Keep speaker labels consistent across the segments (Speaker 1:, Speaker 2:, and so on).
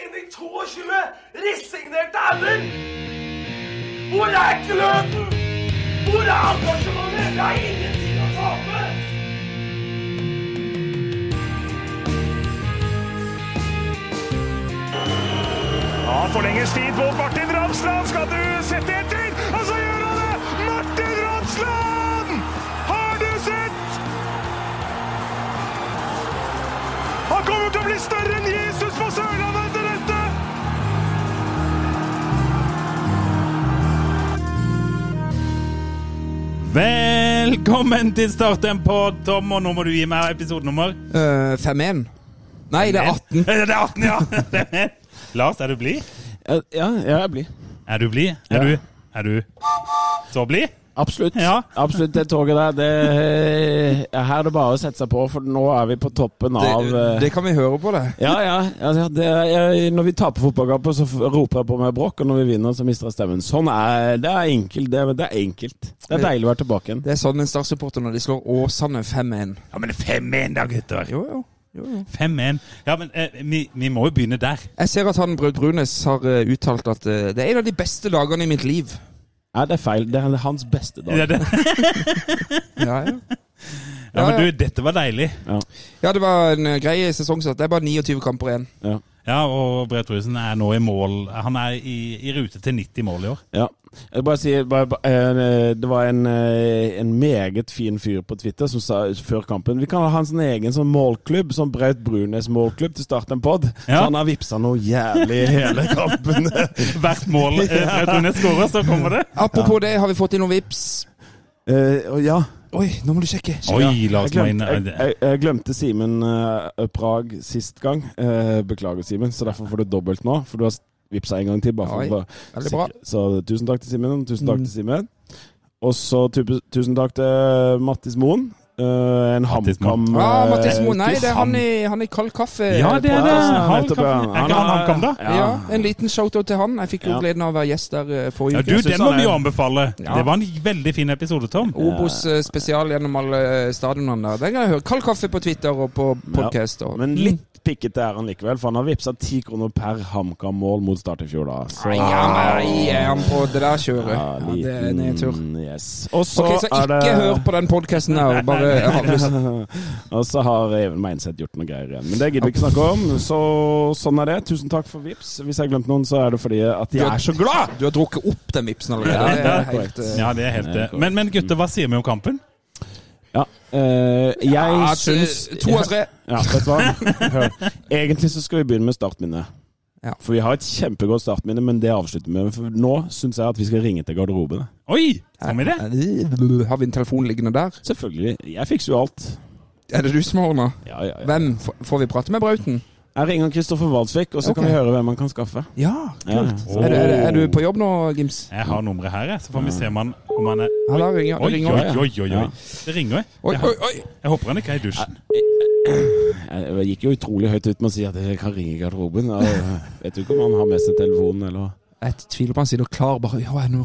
Speaker 1: 22 resignerte ender! Hvor er gløden? Hvor er engasjementet? Vi har ingenting å tape!
Speaker 2: Ja, forlenges tid på Martin Ramsland. Skal du sette etter? Og så gjør han det! Martin Ramsland! Har du sett? Han kommer til å bli større enn Jesus på Sørlandet etter dette!
Speaker 3: Velkommen til Start en pod, Tom, og nå må du gi meg episodenummer.
Speaker 4: Eh, 5-1. Nei, det er 18.
Speaker 3: Eh, Det er 18, ja! Lars, er du blid?
Speaker 5: Ja, ja, jeg blir.
Speaker 3: Er du blid? Er
Speaker 5: Ja.
Speaker 3: du Er du så blid?
Speaker 5: Absolutt.
Speaker 3: Ja.
Speaker 5: Absolutt, det toget der. Det, Eh, her er det bare å sette seg på, for nå er vi på toppen av
Speaker 4: Det,
Speaker 5: eh,
Speaker 4: det kan vi høre på, det.
Speaker 5: Ja, ja. altså, det, jeg, når vi taper fotballkamper, så f- roper jeg på meg bråk, og når vi vinner, så mister jeg stemmen. Sånn er det. er enkelt. Det, er- det er enkelt. Det er deilig å være tilbake igjen.
Speaker 4: Det er sånn en Start-supporter når de slår Åsane 5-1.
Speaker 3: Ja, men 5-1 da, gutter.
Speaker 4: Jo, jo. jo, jo.
Speaker 3: 5-1. Ja, men eh, vi, vi må jo begynne der.
Speaker 4: Jeg ser at han Braut Brunes har eh, uttalt at eh, det er en av de beste dagene i mitt liv.
Speaker 5: Nei, det er feil. Det er hans beste dag.
Speaker 3: Ja, det,
Speaker 4: Ja, ja.
Speaker 3: ja, men du, dette var deilig.
Speaker 4: ja det var en eh, grei sesongstart. Det er bare 29 kamper igjen.
Speaker 5: Ja.
Speaker 3: Ja, og Brett Rusen er nå i mål. Han er i, i rute til 90 mål i år.
Speaker 5: Ja. Jeg vil bare si, bare, ba- eh, Det var en, eh, en meget fin fyr på Twitter som sa før kampen Vi kan ha hans egen sånn målklubb, sånn Braut Brunes målklubb, til å starte en pod.
Speaker 3: Ja.
Speaker 5: Så han har vippsa noe jævlig i hele kampen.
Speaker 3: Hvert mål eh, Brett Runes skårer, så kommer det.
Speaker 4: Apropos det, har vi fått inn noen vips?
Speaker 5: Eh, og ja.
Speaker 4: Oi, nå må du sjekke.
Speaker 3: Oi, Lars
Speaker 5: Jeg glemte, jeg,
Speaker 3: Maine.
Speaker 5: jeg, jeg glemte Simen eh, Prag sist gang. Eh, beklager, Simen, så derfor får du dobbelt nå. For du har vippsa en gang til. Bare for
Speaker 4: Oi,
Speaker 5: å være
Speaker 4: veldig bra. Mm.
Speaker 5: sikker. Så tusen takk til Simen, og tusen takk til Simen. Og så tu- tusen takk til Mattis Moen. Eh, en
Speaker 3: Mattis Moen.
Speaker 5: HamKam
Speaker 4: Ja,
Speaker 5: eh,
Speaker 4: Ah, Mattis Moen. Nei, det er han i, han i kald kaffe.
Speaker 3: Ja, det er det.
Speaker 5: podcasten.
Speaker 3: Han
Speaker 5: Nettopp,
Speaker 3: kan-
Speaker 5: ja.
Speaker 3: Er ikke han HamKam, da?
Speaker 4: Ja.
Speaker 5: Ja.
Speaker 4: En liten shout-out til han. Jeg fikk jo
Speaker 5: Ja.
Speaker 4: gleden av å være gjest der eh, forrige
Speaker 3: Ja, du,
Speaker 4: uke.
Speaker 3: den må vi jo anbefale.
Speaker 4: Ja.
Speaker 3: Det var en veldig fin episode, Tom.
Speaker 4: Obos eh, spesial gjennom alle eh, stadionene der. Den kan jeg høre. Kald kaffe på Twitter og på podkast.
Speaker 5: Ja.
Speaker 4: og-
Speaker 5: Men litt pikkete er han likevel, for han har vippsa ti kroner per HamKam-mål mot Start i fjor, da. Så
Speaker 4: Nei, ja, nei, er han på det der kjøret? Ja,
Speaker 5: Ah. Ja,
Speaker 4: det er en nedtur.
Speaker 5: liten- Yes. Og så,
Speaker 4: Ok, så
Speaker 5: er
Speaker 4: ikke
Speaker 5: det
Speaker 4: hør på den podkasten her. Bare avlyst.
Speaker 5: Og så har Even Meinseth gjort noe greier igjen. Men det gidder vi ikke snakke om, så sånn er det. Tusen takk for vips. Hvis jeg har glemt noen, så er det fordi at jeg er så glad!
Speaker 4: Du har drukket opp den vipsen allerede. Det er helt, eh,
Speaker 3: Ja, det er helt det. Men, men gutter, hva sier vi om kampen?
Speaker 5: Ja, eh, jeg
Speaker 4: ja,
Speaker 5: syns
Speaker 4: t- To av tre.
Speaker 5: Ja, vet du hva? Hør. Egentlig så skal vi begynne med startminnet.
Speaker 4: Ja.
Speaker 5: For vi har et kjempegodt startminne, men det avslutter vi med. For nå syns jeg at vi skal ringe til garderobene.
Speaker 3: Oi, skal vi det?
Speaker 4: Har vi en telefon liggende der?
Speaker 5: Selvfølgelig. Jeg fikser jo alt.
Speaker 4: Er det du som har ordna?
Speaker 5: Ja, ja, ja.
Speaker 4: Hvem? F- Får vi prate med Brauten?
Speaker 5: Jeg ringer Kristoffer Walsvik, og så kan
Speaker 4: Ok.
Speaker 5: vi høre hvem han kan skaffe.
Speaker 4: Ja.
Speaker 5: Ja.
Speaker 4: Er du, er, du, er du på jobb nå, Gims?
Speaker 3: Jeg har nummeret her, jeg, så får vi se om han, om han er
Speaker 4: Ja, da ringer,
Speaker 3: Oi,
Speaker 4: det ringer.
Speaker 3: oi,
Speaker 5: ja.
Speaker 3: oi. oi, oi.
Speaker 5: Ja.
Speaker 3: Det ringer,
Speaker 4: Oi,
Speaker 3: jeg.
Speaker 4: oi, oi.
Speaker 3: Jeg håper han ikke er i dusjen.
Speaker 5: Jeg jeg Eh, gikk jo utrolig høyt ut med å si at jeg kan ringe garderoben. og jeg Vet du ikke om han har med seg telefonen, eller
Speaker 4: Jeg tviler på han sitter klar bare ja, nå,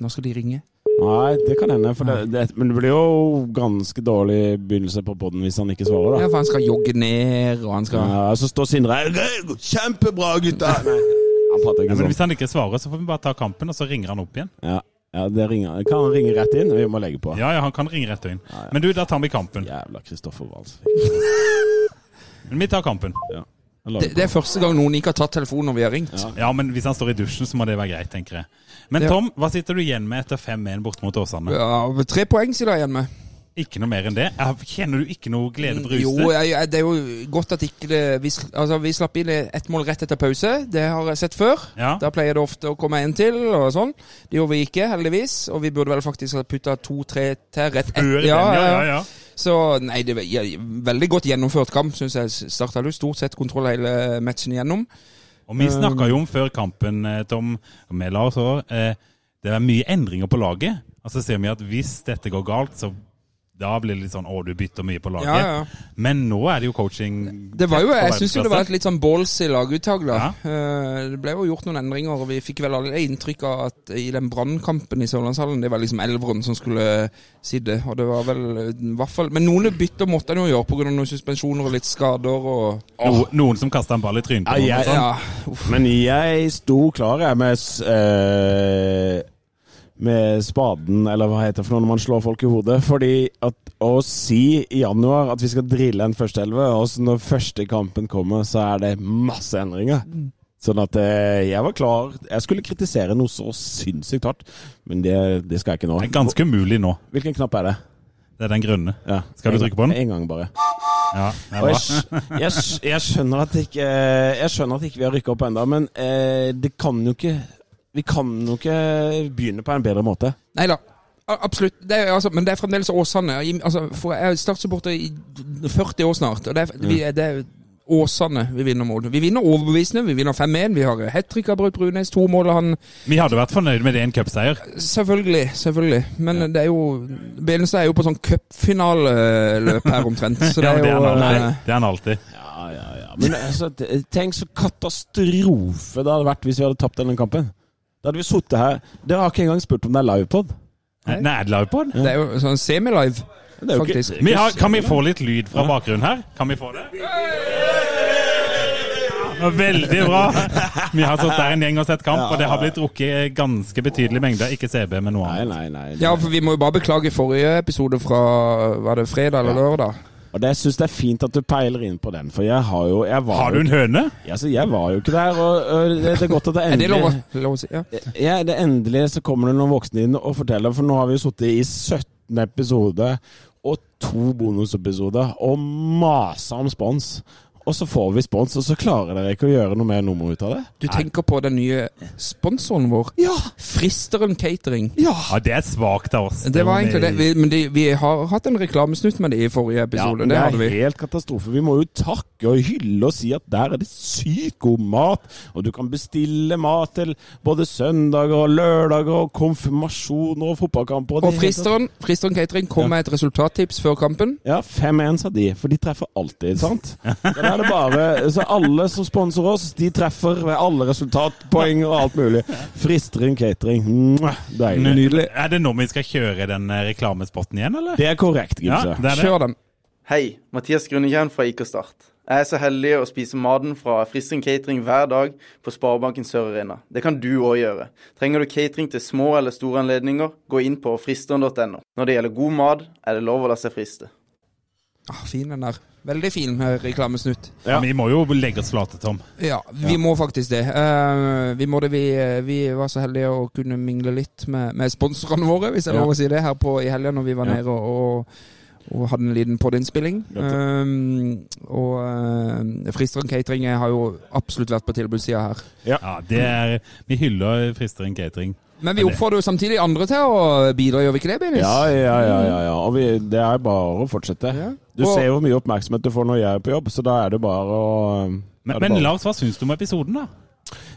Speaker 4: nå skal de ringe.
Speaker 5: Nei, det kan hende. For det, det, men det blir jo ganske dårlig begynnelse på poden hvis han ikke svarer,
Speaker 4: Ja,
Speaker 5: da.
Speaker 4: for han skal jogge ned, og han skal
Speaker 5: Ja, så står Sindre her. «Gøy, Kjempebra, gutta! Nei, Han prater
Speaker 3: Ja,
Speaker 5: ikke
Speaker 3: men
Speaker 5: sånn.
Speaker 3: hvis han ikke svarer, så får vi bare ta kampen, og så ringer han opp igjen.
Speaker 5: Ja, ja det ringer. Kan han ringe rett inn? Vi må legge på.
Speaker 3: Ja, ja, han kan ringe rett inn. Men du, da tar vi kampen.
Speaker 5: Jævla Kristoffer Wahls.
Speaker 3: Men vi tar kampen.
Speaker 5: Ja.
Speaker 4: det, det er første gang noen ikke har tatt telefonen når vi har ringt.
Speaker 3: Ja, men hvis han står i dusjen, så må det være greit, tenker jeg. Men
Speaker 4: Ja.
Speaker 3: Tom, hva sitter du igjen med etter 5-1 borte mot Åsane?
Speaker 4: Ja, tre poeng sitter jeg igjen med.
Speaker 3: Ikke noe mer enn det? Jeg- Kjenner du ikke noe glede på
Speaker 4: Jo,
Speaker 3: ruset?
Speaker 4: jeg, jeg, det er jo godt at ikke det vi, sl- altså, vi slapp inn ett mål rett etter pause. Det har jeg sett før.
Speaker 3: Ja.
Speaker 4: Da pleier det ofte å komme en til, og sånn. Det gjorde vi ikke, heldigvis. Og vi burde vel faktisk ha putta to-tre til rett
Speaker 3: Før
Speaker 4: etter.
Speaker 3: den, ja, ja, ja.
Speaker 4: Så nei, det var ja, veldig godt gjennomført kamp, syns jeg. Start hadde jo stort sett kontroll hele matchen igjennom.
Speaker 3: Og vi snakka
Speaker 4: Um.
Speaker 3: jo om før kampen, eh, Tom, med Lars òg, eh, det er mye endringer på laget. Og så ser vi at hvis dette går galt, så Da blir det litt sånn å, du bytter mye på laget.
Speaker 4: Ja, ja.
Speaker 3: Men nå er det jo coaching
Speaker 4: Det var jo,
Speaker 3: på
Speaker 4: jeg syns jo det var
Speaker 3: verdensklasse.
Speaker 4: et litt sånn ballsy laguttak, da. Eh, Det ble jo gjort noen endringer, og vi fikk vel alle inntrykk av at i den brannkampen i Sørlandshallen, det var liksom elveren som skulle sitte, og det var vel eh, i hvert fall Men noen bytter måtte han jo gjøre pga. noen suspensjoner og litt skader og
Speaker 3: No, noen som kasta en ball i trynet på
Speaker 5: Ja,
Speaker 3: noen. og
Speaker 5: jeg-
Speaker 3: sånn.
Speaker 4: Ja, uff.
Speaker 5: Men jeg sto klar jeg, med, s- eh, med spaden, eller hva heter det for noe når man slår folk i hodet. Fordi at å si i januar at vi skal drille en førsteelve, og så når første kampen kommer, så er det masse endringer. Sånn at eh, jeg var klar. Jeg skulle kritisere noe så sinnssykt hardt, men det, det skal jeg ikke nå.
Speaker 3: Det er ganske umulig nå.
Speaker 5: Hvilken knapp er det?
Speaker 3: Det er den grønne.
Speaker 5: Ja.
Speaker 3: Skal du trykke på den?
Speaker 5: En gang bare.
Speaker 3: Ja, det er
Speaker 5: Og
Speaker 3: bra.
Speaker 5: jeg, skj- jeg, skj- jeg skjønner at ikke eh, Jeg skjønner at ikke vi har rykka opp ennå, men eh, det kan jo ikke Vi kan jo ikke begynne på en bedre måte.
Speaker 4: Nei da. A- Absolutt. Det er, altså, men det er fremdeles Åsane. I, altså, for jeg er Start-supporter i 40 år snart. Og det
Speaker 5: Mm.
Speaker 4: er, vi, det er Åsane vi vinner mot. Vi vinner overbevisende. Vi vinner 5-1. Vi har hat trick av Braut Brunes. To mål av han.
Speaker 3: Vi hadde vært fornøyd med det en cupseier.
Speaker 4: Selvfølgelig. selvfølgelig Men det er jo Benestad er jo på sånn cupfinaleløp her omtrent. Så
Speaker 3: Ja,
Speaker 4: det er
Speaker 3: men det er han
Speaker 4: jo
Speaker 3: alltid.
Speaker 4: eh,
Speaker 3: Det er han alltid.
Speaker 5: Ja, ja, ja. Men altså, t- tenk så katastrofe det hadde vært hvis vi hadde tapt denne kampen. Da hadde vi sittet her Dere har ikke engang spurt om det er livepod.
Speaker 3: Nei, er det livepod?
Speaker 4: Det er jo sånn semilive,
Speaker 5: Det er jo ikke-
Speaker 4: faktisk.
Speaker 3: Vi har, kan vi få litt lyd fra bakgrunnen her? Kan vi få det? Ja, Veldig bra! Vi har sittet der en gjeng og sett kamp, og det har blitt drukket ganske betydelige mengder. Ikke CB, men noe
Speaker 5: Nei,
Speaker 3: annet.
Speaker 5: nei, nei.
Speaker 4: Ja, for vi må jo bare beklage forrige episode fra Var det fredag eller lørdag?
Speaker 5: Og det, jeg syns det er fint at du peiler inn på den, for jeg har jo Jeg var,
Speaker 3: Har du
Speaker 5: jo,
Speaker 3: en høne?
Speaker 5: altså, jeg var jo ikke der, og, og det, det er godt at det
Speaker 4: Er det
Speaker 5: endelig
Speaker 4: lov, å- lov å si? Ja.
Speaker 5: ja, det endelig så kommer det noen voksne inn og forteller, for nå har vi jo sittet i 17 episoder og to bonusepisoder og masa om spons. Og så får vi spons, og så klarer dere ikke å gjøre noe mer nummer ut av det?
Speaker 4: Du tenker på den nye sponsoren vår?
Speaker 5: Ja!
Speaker 4: Fristeren Catering.
Speaker 3: Ja, det er svakt av oss.
Speaker 4: Det var
Speaker 3: må vi-
Speaker 4: egentlig det. Vi, men de, vi har hatt en reklamesnutt med det i forrige episode.
Speaker 5: men
Speaker 4: det
Speaker 5: det
Speaker 4: hadde vi.
Speaker 5: er helt katastrofe. Vi må jo takke og hylle og si at der er det sykt god mat, og du kan bestille mat til både søndager og lørdager og konfirmasjoner og
Speaker 4: Og
Speaker 5: fotballkamper. det hele tatt.
Speaker 4: Fristeren, fristeren Catering kom med et resultattips før kampen.
Speaker 5: Ja, 5-1 sa de, for de treffer alltid, sant? Der er det bare, så alle som sponser oss, de treffer ved alle resultat, poeng og alt mulig. Fristeren catering. Mwah, Deilig.
Speaker 4: Nydelig.
Speaker 3: Er det nå vi skal kjøre den eh, reklamespotten igjen, eller?
Speaker 5: Det er korrekt,
Speaker 3: Ja,
Speaker 5: Gimse.
Speaker 3: det er det.
Speaker 4: Kjør den.
Speaker 6: Hei, Mathias Grunnekjern fra IK Start. Jeg er så heldig å spise maten fra Fristring Catering hver dag på Sparebanken Sør Arena. Det kan du òg gjøre. Trenger du catering til små eller store anledninger, gå inn på fristeren.no. Når det gjelder god mat, er det lov å la seg friste.
Speaker 4: Ah, fin den der. Veldig fin eh, reklamesnutt.
Speaker 3: Ja, vi må jo legge oss flate, Tom.
Speaker 4: Ja, vi må faktisk det. Eh, vi, må det vi, vi var så heldige å kunne mingle litt med, med sponsorene våre, hvis jeg er
Speaker 5: Ja.
Speaker 4: lov å si det, her på, i helga når vi var nede og, og, og hadde en liten podinnspilling. Um, og eh, Fristeren Catering har jo absolutt vært på tilbudssida her.
Speaker 3: Ja, det er, Vi hyller Fristeren Catering.
Speaker 4: Men vi oppfordrer jo samtidig andre til å bidra, gjør vi ikke det, Benis?
Speaker 5: Ja, ja, ja. ja, ja. Og vi, det er bare å fortsette. Du
Speaker 4: Og-
Speaker 5: ser jo hvor mye oppmerksomhet du får når jeg er på jobb, så da er det bare å er
Speaker 3: Men,
Speaker 5: det
Speaker 3: men
Speaker 5: bare-
Speaker 3: Lars, hva syns du om episoden, da?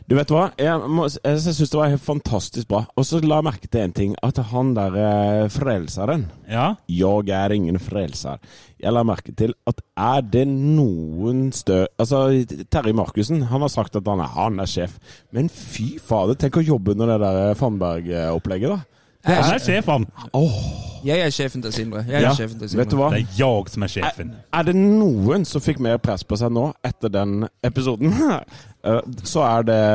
Speaker 5: Du vet hva? Jeg, må, jeg, jeg syns det var helt fantastisk bra. Og så la jeg merke til én ting. At han der eh, frelseren
Speaker 3: Ja,
Speaker 5: Jeg er ingen frelser. Jeg la merke til at er det noen stø... Altså, Terje Markussen han har sagt at han er, han er sjef. Men fy fader, tenk å jobbe under det der Fannberg-opplegget, da.
Speaker 3: han er sjef, han.
Speaker 4: Jeg er sjefen til Sindre. Jeg er
Speaker 5: Ja,
Speaker 4: sjefen til Sindre.
Speaker 5: Vet du hva?
Speaker 3: Det er jeg som er sjefen.
Speaker 5: Er det noen som fikk mer press på seg nå etter den episoden, eh, så er det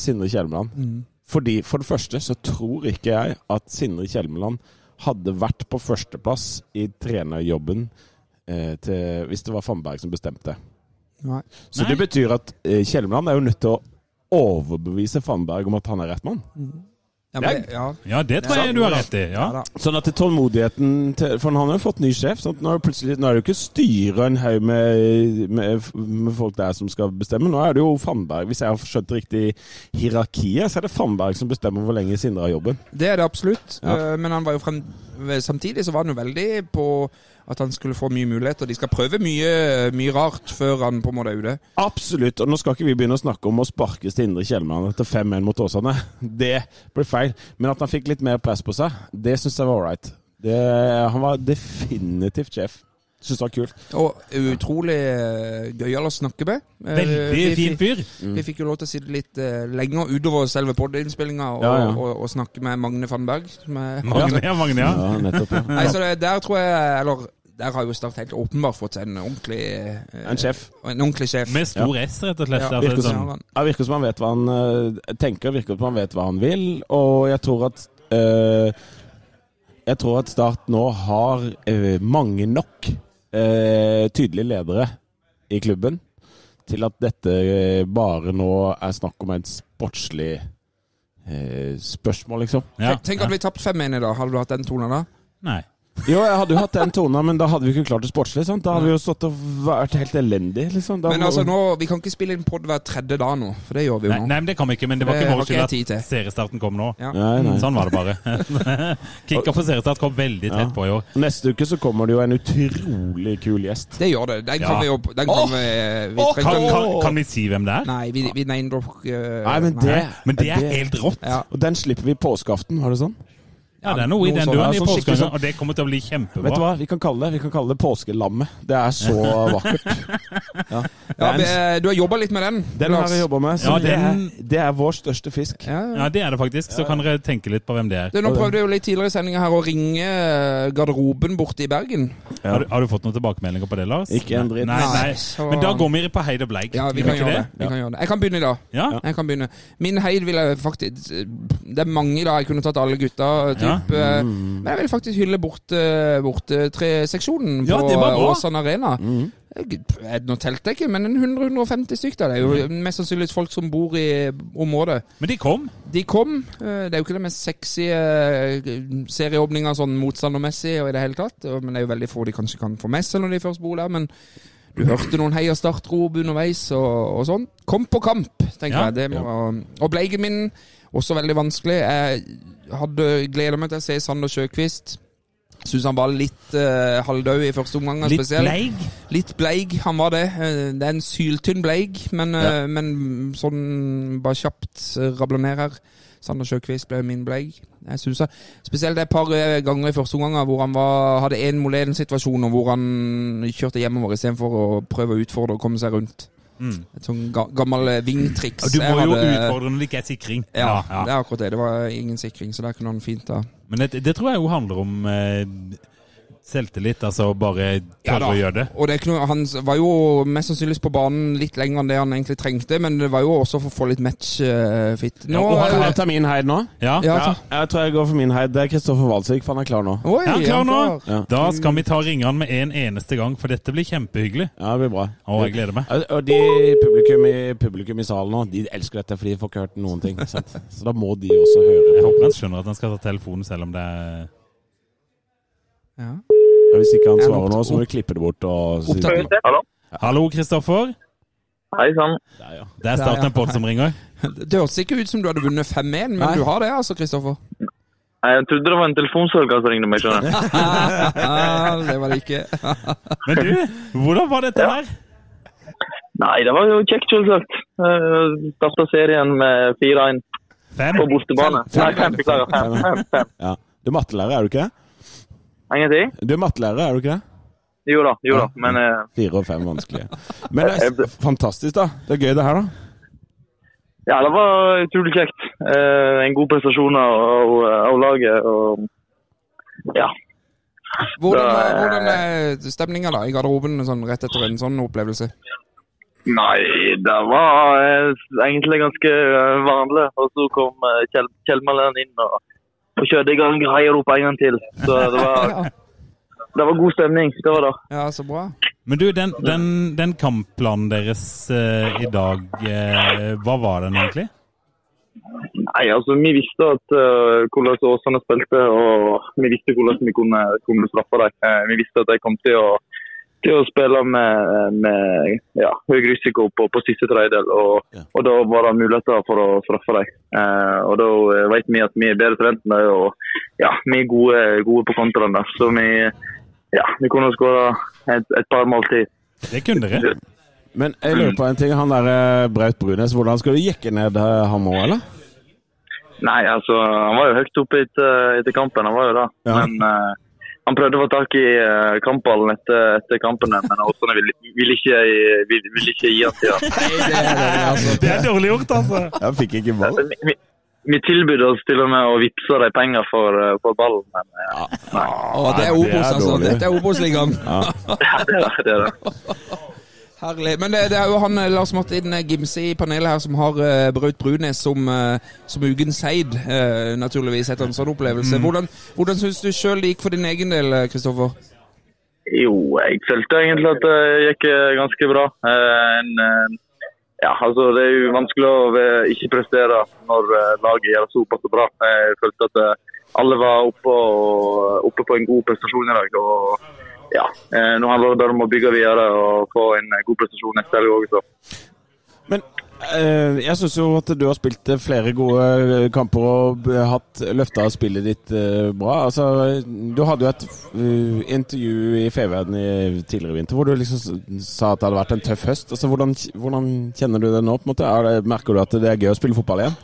Speaker 5: Sindre Kjelmeland. Fordi For det første så tror ikke jeg at Sindre Kjelmeland hadde vært på førsteplass i trenerjobben eh, til, hvis det var Fannberg som bestemte.
Speaker 4: Nei.
Speaker 5: Så
Speaker 3: Nei.
Speaker 5: det betyr at eh, Kjelmeland er jo nødt til å overbevise Fannberg om at han er rett mann.
Speaker 4: Ja, men, det- ja.
Speaker 3: Ja, det tror jeg du har rett i. Ja.
Speaker 5: Sånn at det tålmodigheten til, For han har jo fått ny sjef. Sant? Nå, er det plutselig, nå er det jo ikke styret en haug med, med, med folk der som skal bestemme. Nå er det jo Fannberg. Hvis jeg har skjønt riktig hierarkiet, så er det Fannberg som bestemmer hvor lenge Sindre har jobben.
Speaker 4: Det er det absolutt.
Speaker 5: Ja.
Speaker 4: Eh, Men han var jo frem... eh, samtidig så var han jo veldig på at han skulle få mye muligheter. De skal prøve mye, mye rart før han på en måte er ute.
Speaker 5: Absolutt. Og nå skal ikke vi begynne å snakke om å sparke Sindre Kjellmann etter 5-1 mot Åsane. Det ble feil. Men at han fikk litt mer press på seg, det syns jeg var ålreit. Det, han var definitivt sjef. Syns det var kult.
Speaker 4: Og utrolig eh, gøyal å snakke med. Eh,
Speaker 3: Veldig
Speaker 4: vi
Speaker 3: fin
Speaker 4: fikk-
Speaker 3: fyr.
Speaker 5: Mm.
Speaker 4: Vi fikk jo lov til å sitte litt eh, lenger utover selve podinnspillinga og,
Speaker 5: Ja, ja.
Speaker 4: og, og, snakke med Magne Fannberg. Som er,
Speaker 3: Magne, ja, Magne, ja.
Speaker 5: Ja, nettopp. Ja.
Speaker 4: Nei, så det, der tror jeg Eller der har jo Start helt åpenbart fått seg en ordentlig eh,
Speaker 5: En sjef.
Speaker 4: En ordentlig sjef.
Speaker 3: Med stor S, rett og slett.
Speaker 4: Ja,
Speaker 3: altså,
Speaker 5: virker
Speaker 3: sånn.
Speaker 4: som-
Speaker 5: Ja, virker som han vet hva han eh, tenker, virker som han vet hva han vil, og jeg tror at eh, Jeg tror at Start nå har eh, mange nok eh, tydelige ledere i klubben til at dette eh, bare nå er snakk om et sportslig eh, spørsmål, liksom.
Speaker 3: Ja.
Speaker 4: Tenk- Tenk at vi tapte 5-1 i dag. Hadde du hatt den tonen da?
Speaker 3: Nei.
Speaker 5: Jo, jeg hadde jo hatt den tonen, men da hadde vi ikke klart det sportslig. sant? Da hadde vi jo stått og vært helt elendig, liksom. Da
Speaker 4: Men
Speaker 5: må-
Speaker 4: altså, nå, vi kan ikke spille inn pod hver tredje dag nå, for det gjør vi jo
Speaker 3: Nei,
Speaker 4: nå.
Speaker 3: nei, men det kan vi ikke. Men det var
Speaker 4: Det
Speaker 3: ikke
Speaker 4: har
Speaker 3: vår
Speaker 4: ikke jeg tid
Speaker 3: skyld
Speaker 4: til.
Speaker 3: at seriestarten kom nå.
Speaker 4: Ja.
Speaker 5: Nei, nei.
Speaker 3: Sånn var det bare. Kickoff og seriestart kom veldig tett på i år.
Speaker 5: Neste uke så kommer det jo en utrolig kul gjest.
Speaker 4: Det gjør det. Den
Speaker 3: Ja.
Speaker 4: kan vi jo Den kan vi, eh, vi
Speaker 3: Kan,
Speaker 4: trenger-
Speaker 3: kan, kan vi si hvem det er?
Speaker 4: Nei, vi, vi name-dropper ikke-
Speaker 5: Nei, men det,
Speaker 3: Men det er helt rått.
Speaker 4: Ja.
Speaker 5: Og den slipper vi påskeaften, var det sånn?
Speaker 3: Ja, det er noe i
Speaker 4: noe
Speaker 3: den
Speaker 4: sånn,
Speaker 3: duren
Speaker 4: ja,
Speaker 3: i
Speaker 4: sånn skikkelig
Speaker 3: påskegangen,
Speaker 4: sånn.
Speaker 3: og det kommer til å bli kjempebra.
Speaker 5: Vet du hva vi kan kalle det? Vi kan kalle det påskelammet. Det er så vakkert. Ja. Det
Speaker 4: Ja,
Speaker 5: er en-
Speaker 4: vi, du har jobba litt med den.
Speaker 5: den har
Speaker 4: Lars.
Speaker 5: vi jobba med. Så
Speaker 3: Ja,
Speaker 5: det,
Speaker 3: den-
Speaker 5: er, det er vår største fisk.
Speaker 4: Ja.
Speaker 3: Ja, det er det faktisk. Så kan dere tenke litt på hvem det er.
Speaker 4: Du, nå prøvde jeg jo litt tidligere i sendinga her å ringe eh, garderoben borte i Bergen.
Speaker 5: Ja.
Speaker 3: Har, du, har du fått noen tilbakemeldinger på det, Lars?
Speaker 5: Ikke en dritt.
Speaker 3: Nei, nei.
Speaker 4: Nei, så-
Speaker 3: Men da går vi på Heid og Bleik.
Speaker 4: Ja, vi
Speaker 3: Gjør
Speaker 4: kan
Speaker 3: ikke
Speaker 4: gjøre det. Vi
Speaker 5: Ja.
Speaker 4: kan gjøre det. Jeg kan begynne i dag.
Speaker 3: Ja?
Speaker 4: Jeg kan begynne. Min heid vil jeg faktisk Det er mange i dag. Jeg kunne tatt alle gutta. Typ. eh, Men jeg vil faktisk hylle borte, borte eh, treseksjonen
Speaker 3: Ja,
Speaker 4: på
Speaker 3: det var
Speaker 4: eh,
Speaker 3: bra. Mm.
Speaker 4: Åsane Arena. Jeg, jeg, nå telte jeg ikke, men en 100-150 stykk der. Det er jo
Speaker 3: Mm.
Speaker 4: mest sannsynligvis folk som bor i området.
Speaker 3: Men de kom.
Speaker 4: De kom. eh, Det er jo ikke det mest sexy eh, serieåpninga sånn motstandermessig og i det hele tatt. og- Men det er jo veldig få de kanskje kan få med seg når de først bor der. Men du hørte noen hei- og startrop underveis og, og sånn. Kom på kamp, tenker
Speaker 3: Ja.
Speaker 4: jeg. Det må, og bleiken min, også veldig vanskelig. Jeg hadde gleda meg til å se Sander Sjøkvist. Syns han var litt uh, halvdau i første omgang.
Speaker 3: Litt
Speaker 4: spesielt.
Speaker 3: bleig.
Speaker 4: Litt bleig, han var det. Eh, Det er en syltynn bleig, men, eh, men sånn bare kjapt eh, rabla ned her. Sander Sjøkvist ble min bleig. Jeg synes det. Spesielt det et par eh, ganger i første omgang hvor han var, hadde en Moleden-situasjon, og hvor han kjørte hjemover istedenfor å prøve å utfordre og komme seg rundt.
Speaker 3: Mm.
Speaker 4: Et sånn ga gammel eh, vingtriks.
Speaker 3: Og du må
Speaker 4: Jeg
Speaker 3: jo
Speaker 4: hadde-
Speaker 3: utfordre når det ikke er sikring.
Speaker 4: Ja, det er akkurat det. Det var ingen sikring, så der kunne han fint da
Speaker 3: Men det, det tror jeg jo handler om eh, selvtillit, altså bare
Speaker 4: Ja
Speaker 3: tørre
Speaker 4: da.
Speaker 3: å gjøre det.
Speaker 4: Og det er ikke noe, han var jo mest sannsynligvis på banen litt lenger enn det han egentlig trengte, men det var jo også for å få litt matchfit. Nå eh,
Speaker 5: Og
Speaker 4: er
Speaker 5: han
Speaker 4: det-
Speaker 5: tar min heid nå.
Speaker 3: Ja.
Speaker 4: Ja,
Speaker 5: Ja,
Speaker 4: ta-
Speaker 5: jeg tror jeg går for min heid. Det er Kristoffer Walsvik, for han er klar nå.
Speaker 4: Oi,
Speaker 3: Er han klar nå?
Speaker 4: han klar.
Speaker 5: Ja.
Speaker 3: Da skal vi ta ringeren med en eneste gang, for dette blir kjempehyggelig.
Speaker 5: Ja, det blir bra.
Speaker 3: Å, jeg gleder meg.
Speaker 5: Ja, Og de publikum i, publikum i salen nå, de elsker dette, for de får ikke hørt noen ting. Sant? Så da må de også høre
Speaker 3: Jeg
Speaker 5: på.
Speaker 3: håper han skjønner at han skal ta telefonen selv om det er
Speaker 4: Ja.
Speaker 5: Ja, Hvis ikke han
Speaker 4: Jeg
Speaker 5: svarer nå,
Speaker 4: lukter
Speaker 5: så må vi klippe det bort. Og si
Speaker 4: Opptak.
Speaker 7: Hallo?
Speaker 3: Hallo, Kristoffer.
Speaker 7: Hei sann.
Speaker 5: Der,
Speaker 3: Det
Speaker 5: ja.
Speaker 3: er
Speaker 4: Der, ja.
Speaker 3: starten av pod som ringer.
Speaker 4: Det hørtes ikke ut som du hadde vunnet 5-1, men
Speaker 5: Nei.
Speaker 4: du har det altså, Kristoffer.
Speaker 7: Nei, Jeg trodde det var en telefonsørger som ringte meg. skjønner jeg.
Speaker 4: Ja, det var det ikke.
Speaker 3: Men du, hvordan var dette her?
Speaker 7: Nei, det var jo kjekt, selvsagt. Eh, Starta serien med 4-1
Speaker 3: Fem?
Speaker 7: på bortebane.
Speaker 4: Fem.
Speaker 7: Nei, fem, beklager. Fem, fem, fem.
Speaker 5: Ja. Du er mattelærer, er du ikke det?
Speaker 7: Ingenting?
Speaker 5: Du er mattelærer, er du ikke det?
Speaker 7: Jo da, jo da. Men eh,
Speaker 5: Fire og fem vanskelige. Men det er s- fantastisk, da. Det er gøy, det her, da.
Speaker 7: ja, det var utrolig kjekt. Eh, En god prestasjon av, av, av laget. Og ja.
Speaker 4: Hvordan,
Speaker 5: eh,
Speaker 7: Da-
Speaker 4: hvordan er stemninga da, i garderoben sånn, rett etter en sånn opplevelse?
Speaker 7: Nei, det var eh, egentlig ganske eh, vanlig. Og så kom eh, Kjell, Kjell Malin inn og, og kjørte i gang heiarop en gang til. Så det var,
Speaker 4: Ja,
Speaker 7: det var god stemning. Det var det.
Speaker 4: ja så bra.
Speaker 3: Men du, den, den, den kampplanen deres eh, i dag, eh, hva var den egentlig?
Speaker 7: Nei, altså vi visste at eh, hvordan Åsane spilte, og vi visste hvordan vi kunne, kunne straffe dem. Eh, vi visste at de kom til å, til å spille med, med ja, høy risiko på, på siste tredjedel, og, og da var det muligheter for å straffe dem. Eh, og da eh, vet vi at vi er bedre trent med det, og ja, vi er gode, gode på kontraene. Så vi, ja, vi kunne skåra et, et par mål til.
Speaker 3: Det kunne dere.
Speaker 5: Men jeg lurer på en ting. Han der eh, Braut Brunes, hvordan skal du jekke ned eh, han nå, eller?
Speaker 7: Nei, altså, han var jo høyt oppe etter, etter kampen, han var jo det.
Speaker 5: Ja.
Speaker 7: Men eh, Han prøvde å få tak i eh, kampballen etter, etter kampen, men Åsane ville, ville, ikke, ville, ville ikke gi han til han.
Speaker 4: Nei, det er det, altså.
Speaker 3: Det er dårlig gjort, altså.
Speaker 5: Jeg fikk ikke ball.
Speaker 7: Vi, vi, vi tilbød oss til og med å vippse de penger for, eh, for ballen, men eh,
Speaker 4: Å, det er
Speaker 5: Nei, det er
Speaker 4: Obos, altså.
Speaker 5: dårlig.
Speaker 4: Dette er Obos-ligaen.
Speaker 7: det er det. det, er det.
Speaker 4: Herlig. Men det, det er jo han eh, Lars Martin Gimse i panelet her som har uh, Braut Brunes som, eh, som ugens seid, eh, naturligvis, etter en sånn opplevelse. Hvordan, hvordan syns du sjøl det gikk for din egen del, eh, Kristoffer?
Speaker 7: Jo, jeg følte egentlig at det gikk eh, ganske bra. Eh, En, eh, ja, altså, det er jo vanskelig å eh, ikke prestere når eh, laget gjør det såpass bra. Jeg følte at eh, alle var oppe, og, oppe på en god prestasjon i dag. Og ja, eh, nå handler det bare om å bygge videre og få en eh, god prestasjon neste helg òg.
Speaker 5: Men eh, jeg syns jo at du har spilt eh, flere gode eh, kamper og b- hatt løfta spillet ditt eh, bra. Altså, du hadde jo et eh, intervju i Feverden i tidligere vinter hvor du liksom s- sa at det hadde vært en tøff høst. Altså, hvordan, k- hvordan kjenner du det nå? på en måte? Er det, merker du at det er gøy å spille fotball igjen?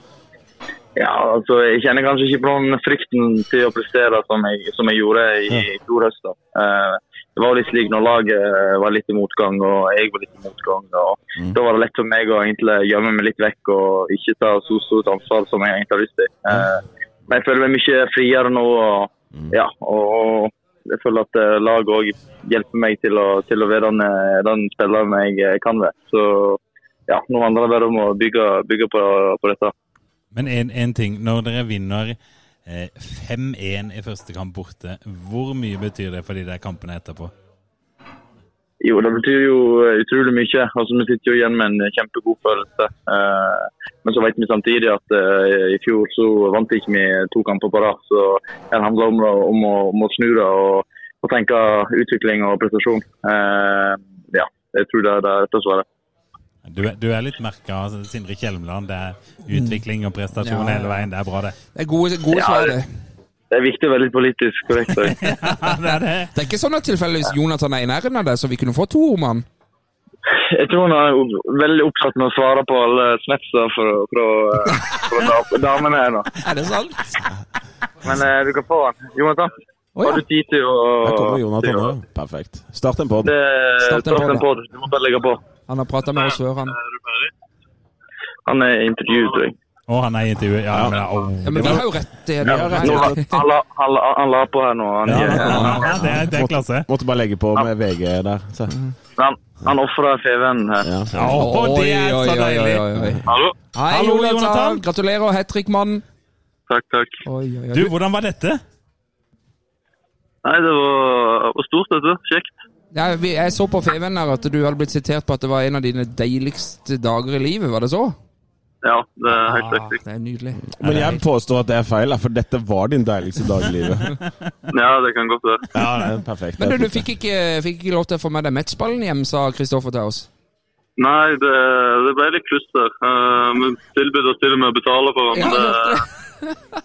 Speaker 7: Ja, altså, jeg kjenner kanskje ikke på den frykten til å prestere som jeg, som jeg gjorde i i fjor høst. da. Eh, Det var jo litt slik når laget eh, var litt i motgang og jeg var litt i motgang. og Da var det lett for meg å egentlig gjemme meg litt vekk og ikke ta så stort ansvar som jeg egentlig har lyst til. Eh, Men jeg føler meg mye friere nå. og, ja, og jeg føler at eh, laget òg hjelper meg til å, til å være den, eh, den spilleren jeg eh, kan være. Så ja, nå handler det bare om å bygge, bygge på, på dette.
Speaker 3: Men én ting. Når dere vinner eh, 5-1 i første kamp borte, hvor mye betyr det for de der kampene etterpå?
Speaker 7: Jo, det betyr jo utrolig mye. Altså, vi sitter jo igjen med en kjempegod følelse. Eh, Men så vet vi samtidig at eh, i fjor så vant ikke vi to kamper på rad. Så det handler om, å- om, å, om å snu det og, og tenke utvikling og prestasjon. Eh, Ja, jeg tror det er det rette svaret.
Speaker 3: Du, er- du er litt merka altså, Sindre Kjelmeland. Det er utvikling og prestasjon
Speaker 4: Ja.
Speaker 3: hele veien. Det er bra, det.
Speaker 4: Det er gode, gode
Speaker 7: Ja,
Speaker 4: svar,
Speaker 7: det-
Speaker 4: det.
Speaker 7: Det er viktig å være litt politisk korrekt. også.
Speaker 3: det er det.
Speaker 4: Det er ikke sånn at tilfeldigvis Jonathan er i nærheten av deg, så vi kunne få to ord med han.
Speaker 7: Jeg tror han er o- veldig opptatt med å svare på alle snapser fra, fra, fra da- damene her nå.
Speaker 4: Er det sant?
Speaker 7: Men eh, du kan få han. Jonathan,
Speaker 4: Å, ja.
Speaker 7: har du tid til å
Speaker 5: Her kommer Jonathan
Speaker 7: til å-
Speaker 5: nå. Perfekt. Start en pod.
Speaker 7: Det
Speaker 4: Start en
Speaker 7: start en
Speaker 4: podd.
Speaker 7: podd. Du må bare legge på.
Speaker 4: Han har prata med oss før, han.
Speaker 7: Han er intervjuet, tror jeg.
Speaker 3: Å, han er i intervjuet. Ja, men, au.
Speaker 4: Ja, men vi har jo rett til det.
Speaker 7: Nå,
Speaker 4: Nei,
Speaker 7: han, han, la- han, la- han la på her nå. Han,
Speaker 3: Ja,
Speaker 7: han,
Speaker 3: ja, det, er, det er klasse.
Speaker 5: Måtte bare legge på med VG der. Så.
Speaker 4: Mm.
Speaker 7: han, han ofrer FV-en her.
Speaker 5: Ja.
Speaker 3: Å, det er
Speaker 4: Oi,
Speaker 3: så
Speaker 4: oi, oi,
Speaker 3: deilig!
Speaker 4: oi, oi.
Speaker 7: Hallo?
Speaker 4: Hei,
Speaker 3: Hallo, Jonathan.
Speaker 4: Jonathan. Gratulerer, hat trick, mann.
Speaker 7: Takk, takk.
Speaker 4: Oi, oi, oi.
Speaker 3: Du, hvordan var dette?
Speaker 7: Nei, det var, var stort, vet du. Kjekt.
Speaker 4: Ja, vi, jeg så på Feven her at du hadde blitt sitert på at det var en av dine deiligste dager i livet, var det så?
Speaker 7: Ja, det er helt
Speaker 4: Ah,
Speaker 7: riktig.
Speaker 4: det er nydelig.
Speaker 5: Men jeg påstår at det er feil, for dette var din deiligste dag i livet.
Speaker 7: Ja, det kan godt være.
Speaker 5: Ja, perfekt.
Speaker 4: Men du, du fikk ikke, fikk ikke lov til å få med deg matchballen hjem, sa Kristoffer til oss.
Speaker 7: Nei, det, det ble litt kluss der. Eh, Vi tilbød oss til og med å betale for den,
Speaker 4: Ja,
Speaker 7: men det,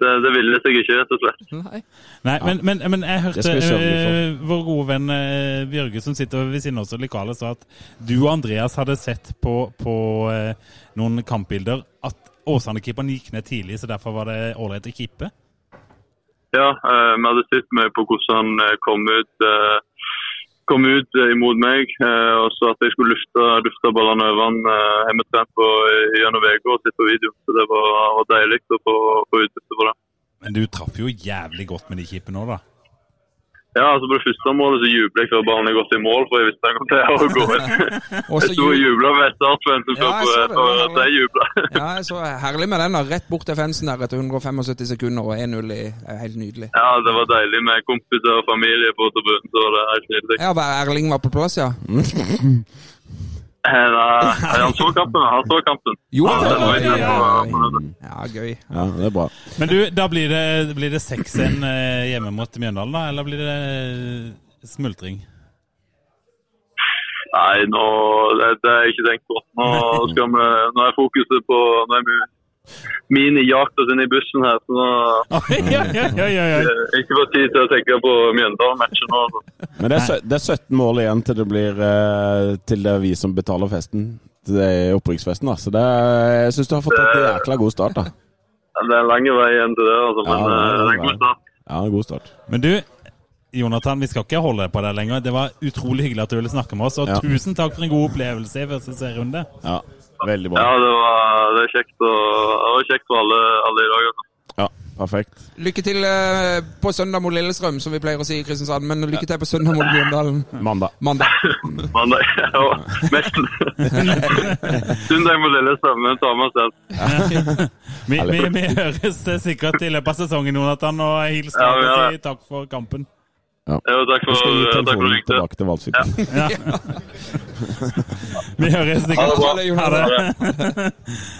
Speaker 7: det, det ville seg ikke, rett og slett.
Speaker 4: Nei.
Speaker 3: Nei, men, men, men jeg
Speaker 5: Det
Speaker 3: hørte
Speaker 5: skal vi sørge for.
Speaker 3: eh, vår gode venn eh, Bjørge som sitter ved siden av oss i lokalet, sa at du og Andreas hadde sett på, på eh, noen kampbilder at Åsane-keeperen gikk ned tidlig, så derfor var det ålreit å kippe.
Speaker 7: Ja, eh, vi hadde sett mye på hvordan han eh, kom ut, eh, kom ut eh, imot meg. eh, og så at jeg skulle lufte, lufte ballene over han eh, har vi trent på i- gjennom uka og sett på video. Så det var, var deilig å få, få utbytte for det.
Speaker 3: Men du traff jo jævlig godt med de kippene òg, da.
Speaker 7: Ja, altså På det første målet så jublet jeg før ballen er gått i mål, for jeg visste han kom til å gå inn.
Speaker 4: Og så
Speaker 7: Jeg sto og
Speaker 4: ju-
Speaker 7: jubla ved
Speaker 4: Ja,
Speaker 7: startfansen før
Speaker 4: jeg så det,
Speaker 7: for
Speaker 4: det var-
Speaker 7: at jeg jubla.
Speaker 4: ja, jeg så herlig med den, da. Rett bort til fansen der etter 175 sekunder og 1-0 i det er Helt nydelig.
Speaker 7: Ja, det var deilig med kompiser og familie på tribunen. Så var det helt nydelig.
Speaker 4: Ja, bare Erling var på plass, ja.
Speaker 7: Eh, Nei, han så kampen. Han så kampen.
Speaker 4: Jo, det
Speaker 7: Det var
Speaker 4: var
Speaker 7: ikke
Speaker 4: gøy.
Speaker 7: noe-
Speaker 4: Ja, gøy.
Speaker 5: Ja, det er bra.
Speaker 3: Men du, da blir det, blir det 6-1 eh, hjemme mot Mjøndalen, da? Eller blir det eh, smultring?
Speaker 7: Nei, nå, det, det har jeg ikke tenkt på. Nå, skal vi, nå er fokuset på Nå er vi- mine jakter inne i bussen her. Så nå
Speaker 3: Oi, oi, oi, oi, oi.
Speaker 7: eh, ikke fått tid til å tenke på Mjøndalen-matchen nå. altså.
Speaker 5: Men det er, sø- det er 17 mål igjen til det blir eh, Til det er vi som betaler festen. Til det er opprykksfesten, da. Så det er, jeg syns du har fått en jækla god start, da.
Speaker 7: Det er lange vei igjen til det, altså, men
Speaker 5: Ja, det er
Speaker 7: eh, det er
Speaker 5: lang
Speaker 7: god start.
Speaker 5: Ja, en god start.
Speaker 3: Men du, Jonathan, vi skal ikke holde på deg lenger. Det var utrolig hyggelig at du ville snakke med oss. Og
Speaker 5: Ja.
Speaker 3: tusen takk for en god opplevelse i første serierunde.
Speaker 5: Ja, veldig
Speaker 7: Ja,
Speaker 5: bra.
Speaker 7: det var, det er kjekt, og, det var kjekt for alle, alle i dag. Altså.
Speaker 5: Ja, perfekt.
Speaker 4: Lykke til eh, på søndag mot Lillestrøm, som vi pleier å si i Kristiansand. Men lykke til på søndag mot Bjørndalen
Speaker 5: Mandag.
Speaker 4: mandag.
Speaker 7: Men det ja, mest Sundag må lille stemme, ta med oss den.
Speaker 3: Vi, vi, vi høres eh, sikkert i løpet av sesongen, Jonathan, og hils
Speaker 7: Ja,
Speaker 3: deg
Speaker 7: ja.
Speaker 3: og si takk for kampen.
Speaker 7: Jo, takk
Speaker 5: Jeg
Speaker 7: for
Speaker 5: skal gi
Speaker 7: takk for at du
Speaker 5: telefonen
Speaker 7: ringte.
Speaker 5: tilbake til Valsvik.
Speaker 3: Vi høres sikkert.
Speaker 4: Ha det, Jonathan.
Speaker 3: det.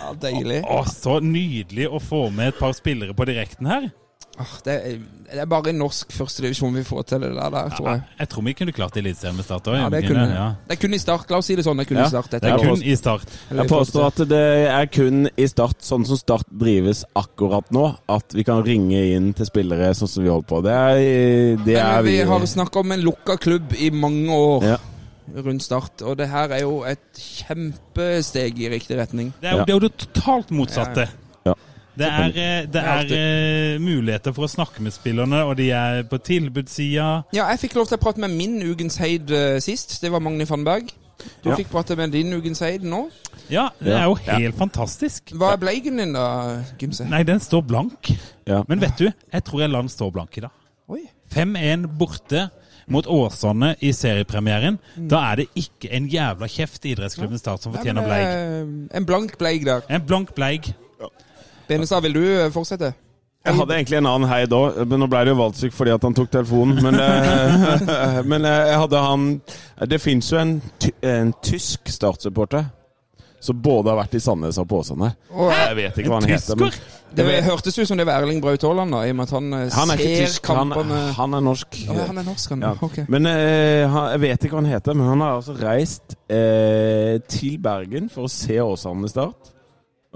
Speaker 4: Ja, deilig.
Speaker 3: Å, så nydelig å få med et par spillere på direkten her.
Speaker 4: Åh, Ah, det, er, det er bare i norsk førstedivisjon vi får til det der, der tror jeg.
Speaker 3: Jeg tror vi kunne klart Eliteserien med Start òg.
Speaker 4: Ja, det kunne Det kunne i start. La oss si det sånn. Det kunne i
Speaker 5: Ja,
Speaker 4: start.
Speaker 5: det er
Speaker 4: tenker jeg.
Speaker 3: Kun i Start.
Speaker 5: Jeg påstår at det er kun i Start, sånn som Start drives akkurat nå, at vi kan ringe inn til spillere sånn som vi holder på. Det er, det
Speaker 4: Men eh,
Speaker 5: er
Speaker 4: vi
Speaker 5: vi.
Speaker 4: har snakka om en lukka klubb i mange år
Speaker 5: Ja.
Speaker 4: rundt Start, og det her er jo et kjempesteg i riktig retning.
Speaker 3: Det er, jo-
Speaker 5: Ja.
Speaker 3: det er jo det totalt motsatte.
Speaker 5: Ja.
Speaker 3: Det er, eh, det er eh, muligheter for å snakke med spillerne, og de er på tilbudssida.
Speaker 4: Ja, jeg fikk lov til å prate med min Ugens Heid eh, sist. Det var Magni Fannberg. Du
Speaker 5: Ja.
Speaker 4: fikk prate med din Ugens Heid nå.
Speaker 3: Ja, det
Speaker 5: Ja.
Speaker 3: er jo helt fantastisk.
Speaker 4: Hva er bleigen din, da, Gimse?
Speaker 3: Nei, den står blank.
Speaker 5: Ja.
Speaker 3: Men vet du, jeg tror jeg lar den stå blank i dag.
Speaker 4: Oi.
Speaker 3: 5-1 borte mot Åsane i seriepremieren.
Speaker 5: Mm.
Speaker 3: Da er det ikke en jævla kjeft i idrettsklubben Start som
Speaker 4: Nei, men,
Speaker 3: fortjener bleig.
Speaker 4: eh, En blank bleig der.
Speaker 3: En blank bleig.
Speaker 4: Benestad, vil du eh, fortsette?
Speaker 5: Jeg hadde egentlig en annen hei da, men nå ble det jo Valsvik fordi at han tok telefonen. Men, eh, men eh, jeg hadde han Det fins jo en, ty en tysk Start-supporter som både har vært i Sandnes og på Åsane.
Speaker 4: Og, eh,
Speaker 5: Jeg vet ikke hva han heter. Men
Speaker 3: Tysker!
Speaker 4: det hørtes ut som det var Erling Braut Haaland, da, i og med at han, eh,
Speaker 5: han er
Speaker 4: ser
Speaker 5: ikke tysk, han,
Speaker 4: kampene han,
Speaker 5: han er norsk.
Speaker 4: han er norsk, han.
Speaker 5: Ja.
Speaker 4: Ok.
Speaker 5: Men eh, han, jeg vet ikke hva han heter, men han har altså reist eh, til Bergen for å se Åsane Start.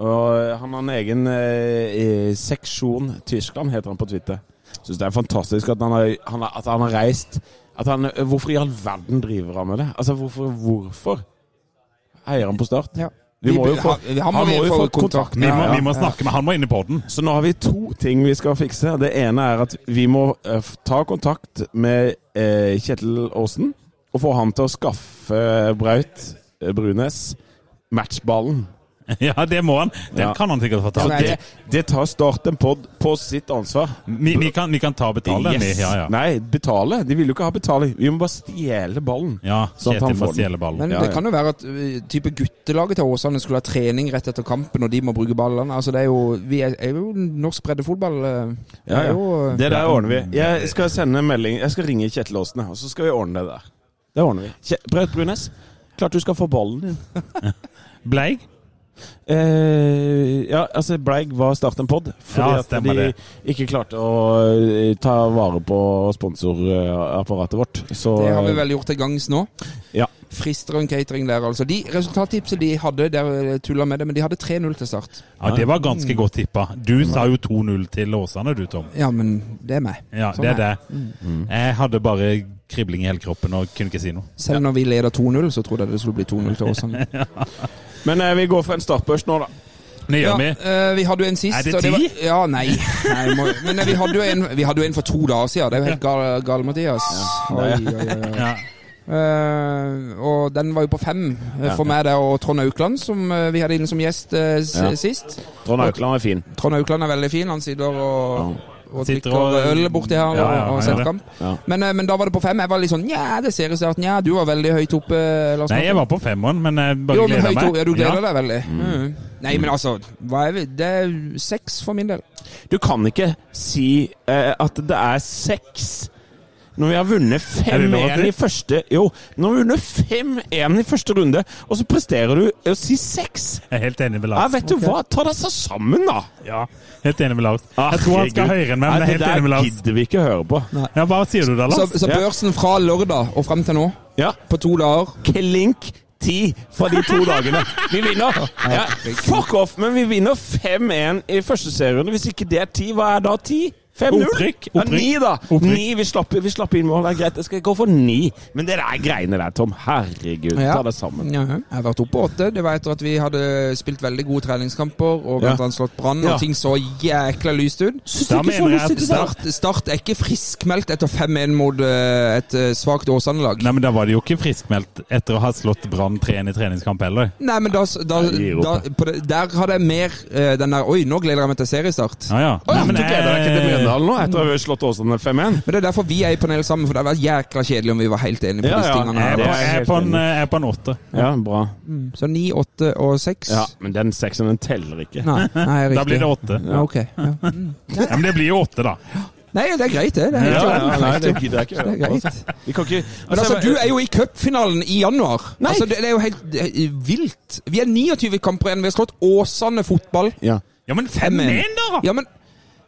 Speaker 5: Og han har en egen eh, eh, seksjon Tyskland, heter han på Twitter. Syns det er fantastisk at han har, han har, at han har reist at han, eh, Hvorfor i all verden driver han med det? Altså, hvorfor, hvorfor heier han på Start?
Speaker 4: Ja.
Speaker 5: Vi må
Speaker 4: Vi-
Speaker 5: jo få,
Speaker 4: han- han må vi få kontakt
Speaker 3: Vi
Speaker 4: med.
Speaker 5: Ja,
Speaker 3: må,
Speaker 5: ja.
Speaker 3: vi må snakke med Han må inn i poden.
Speaker 5: Så nå har vi to ting vi skal fikse. Det ene er at vi må eh, f- ta kontakt med eh, Kjetil Aasen og få han til å skaffe eh, Braut eh, Brunes matchballen.
Speaker 3: Ja, det må han. Den
Speaker 5: Ja.
Speaker 3: kan han sikkert få
Speaker 5: Så
Speaker 3: ta.
Speaker 4: Nei,
Speaker 5: det, det tar Start en pod på sitt ansvar.
Speaker 3: Vi, vi, kan, vi kan ta og betale den, vi.
Speaker 5: Yes.
Speaker 3: Ja, ja.
Speaker 5: Nei, betale. De vil jo ikke ha betaling. Vi må bare stjele ballen.
Speaker 3: ja
Speaker 5: Sånn at han
Speaker 3: Kjetil må
Speaker 5: får den.
Speaker 3: stjele ballen.
Speaker 4: Men
Speaker 5: Ja,
Speaker 4: det
Speaker 5: ja.
Speaker 4: kan jo være at ø, type guttelaget til Åsane skulle ha trening rett etter kampen, og de må bruke ballene. Altså, det er jo, vi er, er jo norsk breddefotball. ø,
Speaker 5: Ja,
Speaker 4: er
Speaker 5: ja.
Speaker 4: Jo, ø,
Speaker 5: Det der ordner vi. Jeg skal sende en melding. Jeg skal ringe Kjetil Aasen, og så skal vi ordne det der. Det ordner vi. Kje- Braut Brunes, klart du skal få ballen din.
Speaker 3: Bleig?
Speaker 5: Eh, ja, altså Bleig var Start en pod, fordi
Speaker 3: Ja,
Speaker 5: at
Speaker 3: stemmer
Speaker 5: de
Speaker 3: det.
Speaker 5: ikke klarte å eh, ta vare på sponsorapparatet vårt. Så
Speaker 4: det har vi vel gjort til gangs nå.
Speaker 5: eh, Ja.
Speaker 4: Frister en catering der, altså. De resultattipset de hadde, der tulla med det, men de hadde 3-0 til start.
Speaker 3: Ja, det var
Speaker 5: Mm.
Speaker 3: ganske godt tippa. Du sa jo 2-0 til Åsane, du, Tom.
Speaker 4: Ja, men det er meg.
Speaker 3: Ja,
Speaker 4: Sånn
Speaker 3: det
Speaker 4: er
Speaker 3: er det. Mm. Jeg hadde bare kribling i hele kroppen og kunne ikke si noe.
Speaker 4: Selv når vi leder 2-0, så trodde jeg det skulle bli 2-0 til Åsane.
Speaker 5: Men eh, vi går for en startbørs nå, da.
Speaker 3: Det gjør
Speaker 4: Ja,
Speaker 3: vi.
Speaker 4: ø, vi hadde jo en sist.
Speaker 3: Er det
Speaker 4: og var-
Speaker 3: ti?
Speaker 4: Ja, nei. nei må, men ø, vi hadde, jo en, vi hadde jo en for to dager siden. Det er jo helt gal, gal Mathias. Oi, oi, oi, oi.
Speaker 3: Ja.
Speaker 4: Eh, og den var jo på fem eh, for meg der og Trond Aukland, som eh, vi hadde inne som gjest eh, s-
Speaker 5: Ja.
Speaker 4: sist.
Speaker 5: Trond Aukland er fin.
Speaker 4: Trond Aukland er veldig fin. Han sitter og, og
Speaker 3: Sitter
Speaker 4: drikker
Speaker 3: og-
Speaker 4: øl borti her
Speaker 3: Ja, ja,
Speaker 4: og, og
Speaker 3: han gjør
Speaker 4: ser
Speaker 3: det.
Speaker 4: kamp.
Speaker 5: Ja.
Speaker 4: Men, eh, men da var det på fem. Jeg var litt sånn Nja, det ser ut til at Nja, du var veldig høyt oppe. Lars
Speaker 3: Nei, jeg
Speaker 4: Martin."
Speaker 3: var på femmeren, men jeg bare
Speaker 4: jo, men
Speaker 3: gleder
Speaker 4: høyt
Speaker 3: meg.
Speaker 4: oppe. Ja, du gleder deg veldig. Mm. Nei, men altså hva er vi? Det er seks for min del.
Speaker 5: Du kan ikke si eh, at det er seks når vi har vunnet
Speaker 3: Er det lov å
Speaker 5: 5-1
Speaker 3: si?
Speaker 5: i første Jo, når vi har vunnet 5-1 i første runde, og så presterer du å si seks!
Speaker 3: Jeg er helt enig med
Speaker 5: Ja,
Speaker 3: Lars.
Speaker 5: vet du hva? Ta deg så sammen, da!
Speaker 3: Ja, helt enig med Lars. Jeg tror han skal
Speaker 5: Ah, Herregud.
Speaker 3: høyere enn meg, men jeg er
Speaker 5: Nei,
Speaker 3: helt enig med
Speaker 5: Det der
Speaker 3: Lars.
Speaker 5: gidder vi ikke høre på.
Speaker 3: Ja, Hva sier du da,
Speaker 4: Så,
Speaker 3: Lars?
Speaker 4: så
Speaker 5: Ja.
Speaker 4: børsen fra lørdag og frem til nå,
Speaker 5: Ja.
Speaker 4: på to dager
Speaker 5: klink ti for de to dagene. Vi vinner! Ja, fuck off, men vi vinner 5-1 i første serierunde. Hvis ikke det er ti, hva er da ti? 5-0.
Speaker 3: Opprykk,
Speaker 5: Ja,
Speaker 3: opprykk.
Speaker 5: ni, da.
Speaker 3: Opprykk.
Speaker 5: Ni, vi slapp, vi slapp inn mål. Det er greit, jeg skal gå for ni. Men det der greiene der, Tom. Herregud,
Speaker 4: Ja.
Speaker 5: ta det sammen.
Speaker 4: Ja, ja. jeg har vært oppe på åtte. Det var etter at vi hadde spilt veldig gode treningskamper og blant
Speaker 5: Ja.
Speaker 4: annet slått Brann,
Speaker 5: Ja.
Speaker 4: og ting så jækla lyst ut.
Speaker 3: Da mener jeg at start,
Speaker 4: Start, start er ikke friskmeldt etter 5-1 mot eh, et eh, svakt Åsane-lag.
Speaker 3: Nei, men Da var de jo ikke friskmeldt etter å ha slått Brann 3-1 i treningskamp heller.
Speaker 4: Nei, men da, da,
Speaker 5: Jeg gir
Speaker 4: da
Speaker 5: opp,
Speaker 4: på det, Der hadde jeg mer eh, den der Oi, nå gleder jeg meg til seriestart.
Speaker 3: Ja, ja.
Speaker 5: Nei, men du
Speaker 3: jeg-
Speaker 5: gleder deg ikke til Mjøndalen nå, etter å ha slått Åsane 5-1?
Speaker 4: Men det er derfor vi er i panel sammen, for det hadde vært jækla kjedelig om vi var helt enige på
Speaker 5: Ja,
Speaker 4: disse
Speaker 5: ja.
Speaker 4: tingene.
Speaker 3: Jeg er
Speaker 5: det
Speaker 3: på-
Speaker 4: her.
Speaker 5: er
Speaker 3: jeg
Speaker 5: jeg
Speaker 3: er
Speaker 5: helt
Speaker 3: på en-
Speaker 5: enig
Speaker 3: jeg er på en åtte.
Speaker 5: Ja, bra.
Speaker 4: Så 9, 8 og 6.
Speaker 5: Ja, Men den sekseren den teller ikke.
Speaker 4: Nei, nei, riktig.
Speaker 3: Da blir det åtte.
Speaker 4: Ja, ok. Ja.
Speaker 3: Ja, men det blir jo åtte, da.
Speaker 4: Nei, det er greit, det. Det er, helt i
Speaker 5: Ja,
Speaker 4: orden.
Speaker 5: ja, nei, det gidder jeg ikke.
Speaker 4: det er greit.
Speaker 5: Vi kan ikke
Speaker 4: Men altså, du er jo i cupfinalen i januar.
Speaker 5: Nei.
Speaker 4: Altså, det det er jo helt eh, vilt. Vi er 29 kamper igjen. Vi har slått Åsane fotball.
Speaker 5: ja.
Speaker 3: Ja, men 5-1, da!
Speaker 4: Ja, men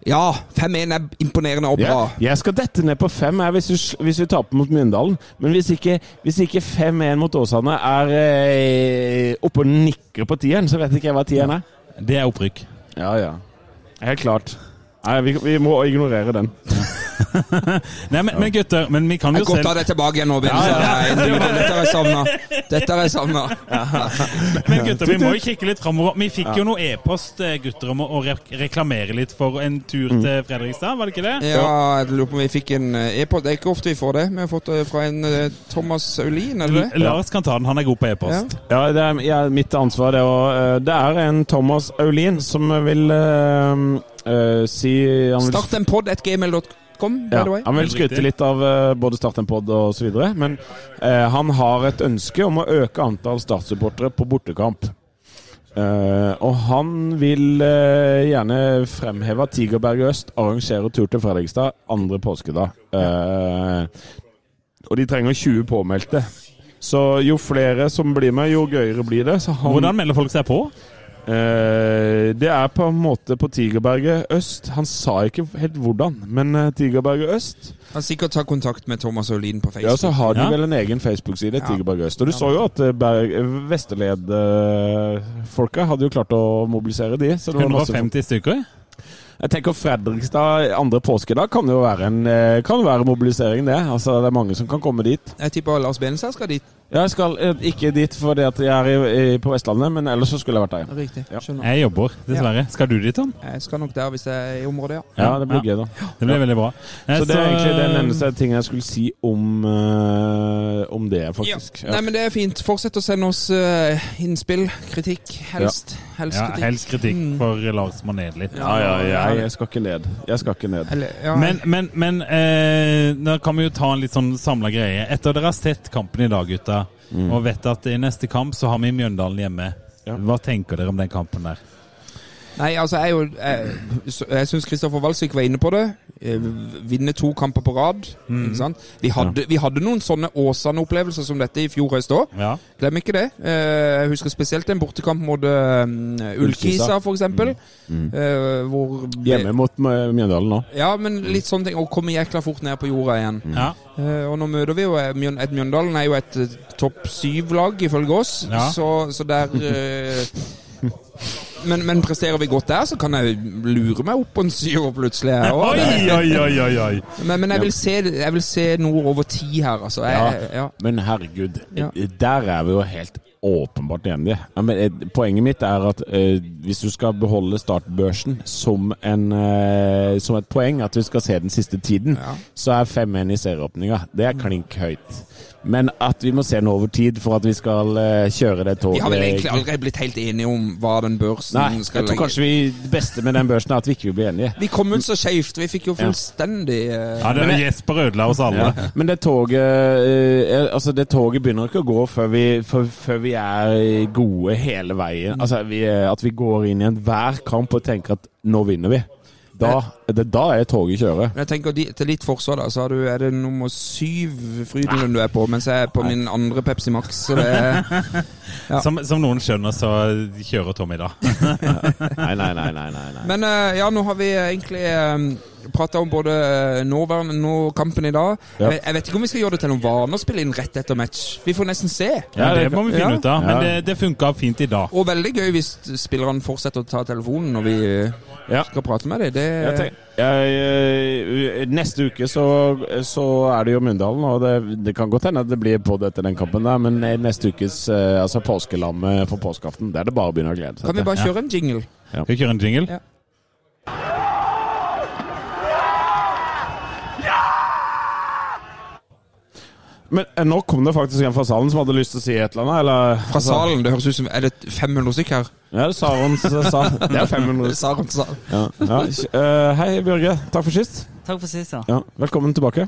Speaker 4: Ja, 5-1 er imponerende og bra.
Speaker 5: Ja, jeg skal dette ned på fem her hvis, vi- hvis vi taper mot Mjøndalen. Men hvis ikke, hvis ikke 5-1 mot Åsane er eh, oppe og nikker på tieren, så vet ikke jeg hva tieren er.
Speaker 3: Det er opprykk.
Speaker 5: Ja, ja. Helt klart. Nei, vi, vi må ignorere den.
Speaker 3: Nei, men, men gutter, men vi kan
Speaker 4: Jeg
Speaker 3: jo
Speaker 4: kan godt ta
Speaker 3: selv
Speaker 4: det tilbake igjen nå, Bent. Nei, Dette har jeg savna. Dette har jeg savna.
Speaker 3: Men gutter, vi må jo kikke litt framover. Vi fikk jo noe e-post eh, gutter om å å re reklamere litt for en tur
Speaker 5: Mm.
Speaker 3: til Fredrikstad, var det ikke det?
Speaker 4: Ja, jeg lurer på om vi fikk en eh, e-post. Det er ikke ofte vi får det. Vi har fått det fra en eh, Thomas Aulin, er det det?
Speaker 3: L- Lars kan ta den, han er god på e-post.
Speaker 5: Ja, det er ja, mitt ansvar, det òg. Det er en Thomas Aulin som vil eh, eh, si han vil,
Speaker 4: Start en pod at gmail.com, by
Speaker 5: ja,
Speaker 4: the way.
Speaker 5: han vil
Speaker 3: Helt
Speaker 5: skryte
Speaker 3: riktig.
Speaker 5: litt av eh, både Start en pod og så videre. Men eh, han har et ønske om å øke antall Start-supportere på bortekamp. Eh, og han vil eh, gjerne fremheve at Tigerberget Øst arrangerer tur til Fredrikstad andre påskedag. Eh, og de trenger 20 påmeldte. Så jo flere som blir med, jo gøyere blir det. Så han,
Speaker 3: Hvordan melder folk seg på?
Speaker 5: Eh, det er på en måte på Tigerberget øst. Han sa ikke helt hvordan, men eh, Tigerberget øst.
Speaker 4: Han sikkert ta kontakt med Thomas Aulin på
Speaker 5: Ja, så
Speaker 4: Facebook.
Speaker 5: har de
Speaker 3: Ja.
Speaker 5: vel en egen Facebook-side, Tigerberget øst. Og du så jo at eh, Berg, Vesterled-folka hadde jo klart å mobilisere de. Så det var masse
Speaker 3: 150 stykker?
Speaker 5: Jeg tenker Fredrikstad andre påskedag kan jo være en eh, kan jo være mobilisering, det. Altså det er mange som kan komme dit.
Speaker 4: Jeg tipper Lars Benestad skal dit.
Speaker 5: Ja, Jeg skal eh, ikke dit fordi at jeg er i, i, på Vestlandet, men ellers så skulle jeg vært der. ja.
Speaker 4: Riktig.
Speaker 5: Ja.
Speaker 4: Skjønner.
Speaker 3: Jeg jobber, dessverre. Skal du dit, Tom?
Speaker 4: Jeg skal nok der hvis jeg er i området, ja.
Speaker 5: Ja, det blir gøy, da.
Speaker 3: Det blir veldig bra. Eh,
Speaker 5: Så det er egentlig den
Speaker 3: eh,
Speaker 5: eneste tingen jeg skulle si om, eh, om det, faktisk.
Speaker 4: Nei, men det er fint. Fortsett å sende oss eh, innspill, kritikk, helst. Helst
Speaker 3: ja,
Speaker 4: kritikk.
Speaker 3: Helst kritikk for Lars Maneli.
Speaker 5: Mm. Ja, ja, jeg, jeg skal ikke ned. Jeg skal ikke ned.
Speaker 4: Eller, ja.
Speaker 3: Men, men, men eh, da kan vi jo ta en litt sånn samla greie. Etter dere har sett kampen i dag, gutta, og vet at i neste kamp så har vi Mjøndalen hjemme.
Speaker 5: Mm. Ja.
Speaker 3: Hva tenker dere om den kampen der?
Speaker 4: Nei, altså, jeg er jo Jeg, så- jeg syns Kristoffer Walsvik var inne på det. Eh, Vinne to kamper på rad. Ikke sant? Vi hadde, vi hadde noen sånne Åsane-opplevelser som dette i fjor høst òg.
Speaker 3: Ja.
Speaker 4: Glem ikke det. Eh, Jeg husker spesielt en bortekamp mot eh, Ullkisa, for eksempel. Eh, Hvor
Speaker 5: Hjemme mot eh, Mjøndalen nå.
Speaker 4: Ja, men litt sånne ting. Å komme jækla fort ned på jorda igjen.
Speaker 3: ja.
Speaker 4: Eh, og nå møter vi jo eh, Mjøn- et Mjøndalen er jo et eh, topp syv-lag, ifølge oss.
Speaker 3: Ja.
Speaker 4: Så, så der eh, men, men presterer vi godt der, så kan jeg lure meg opp på en syver plutselig. Jeg,
Speaker 3: Oi,
Speaker 4: også.
Speaker 3: oi, oi, oi, oi!
Speaker 4: Men, men jeg, vil se, jeg vil se noe over ti her, altså. Jeg, ja.
Speaker 5: Men herregud, eh,
Speaker 4: Ja.
Speaker 5: der er vi jo helt åpenbart enige. Ja, men, eh, poenget mitt er at eh, hvis du skal beholde startbørsen som, en, eh, som et poeng, at vi skal se den siste tiden,
Speaker 4: Ja.
Speaker 5: så er 5-1 i serieåpninga. Det er klink høyt. Men at vi må se den over tid for at vi skal eh, kjøre det
Speaker 4: Vi
Speaker 5: toget
Speaker 4: har vel egentlig aldri blitt helt enige om hva den børsen
Speaker 5: Nei, jeg
Speaker 4: skal
Speaker 5: tror kanskje vi, det beste med den børsen er at vi ikke vil bli enige.
Speaker 4: Vi kom ut så skeivt. Vi fikk jo fullstendig eh,
Speaker 3: Ja, det er Jesper ødela oss alle.
Speaker 5: Men det toget eh, Altså, det toget begynner ikke å gå før vi, før, før vi er gode hele veien. Altså vi, eh, at vi går inn i enhver kamp og tenker at nå vinner vi. Da, det, da er toget kjøret.
Speaker 4: Men jeg tenker de, Til ditt forsvar da, så er, du, er det nummer syv Frydenlund du er på, mens jeg er på min andre Pepsi Max. Så det er, Ja.
Speaker 3: Som, som noen skjønner, så kjører Tom i dag.
Speaker 5: Nei, nei, nei. nei, nei, nei.
Speaker 4: men eh, ja, nå har vi egentlig eh, prata om både nåværende nå kampen i dag.
Speaker 5: Ja.
Speaker 4: Jeg, jeg vet ikke om vi skal gjøre det til noen vane å spille inn rett etter match. Vi får nesten se.
Speaker 3: Ja, det må vi finne ut av.
Speaker 5: Ja.
Speaker 3: Men det, det funka fint i dag.
Speaker 4: Og veldig gøy hvis spillerne fortsetter å ta telefonen når vi eh,
Speaker 5: Ja.
Speaker 4: skal prate med dem. Det,
Speaker 5: Jeg tenk, jeg, eh, neste uke så, så er det jo Mundalen, og det, det kan godt hende at det blir pod etter den kampen der, men neste ukes eh, altså påskelammet for påskeaften, det er det bare å begynne å glede seg
Speaker 4: kan vi bare kjøre en jingle?
Speaker 3: Skal vi kjøre en jingle?
Speaker 4: Ja.
Speaker 5: Men eh, nå kom det faktisk en fra salen som hadde lyst til å si et eller annet, eller
Speaker 3: Altså-
Speaker 4: Fra salen, det høres ut som Er det 500 stykk her?
Speaker 5: Ja, det sa hun. så sa- Det er 500.
Speaker 4: Salen til salen.
Speaker 5: Ja. Ja. eh, hei, Bjørge. Takk for sist.
Speaker 8: Takk for sist, ja.
Speaker 5: Ja. Velkommen tilbake.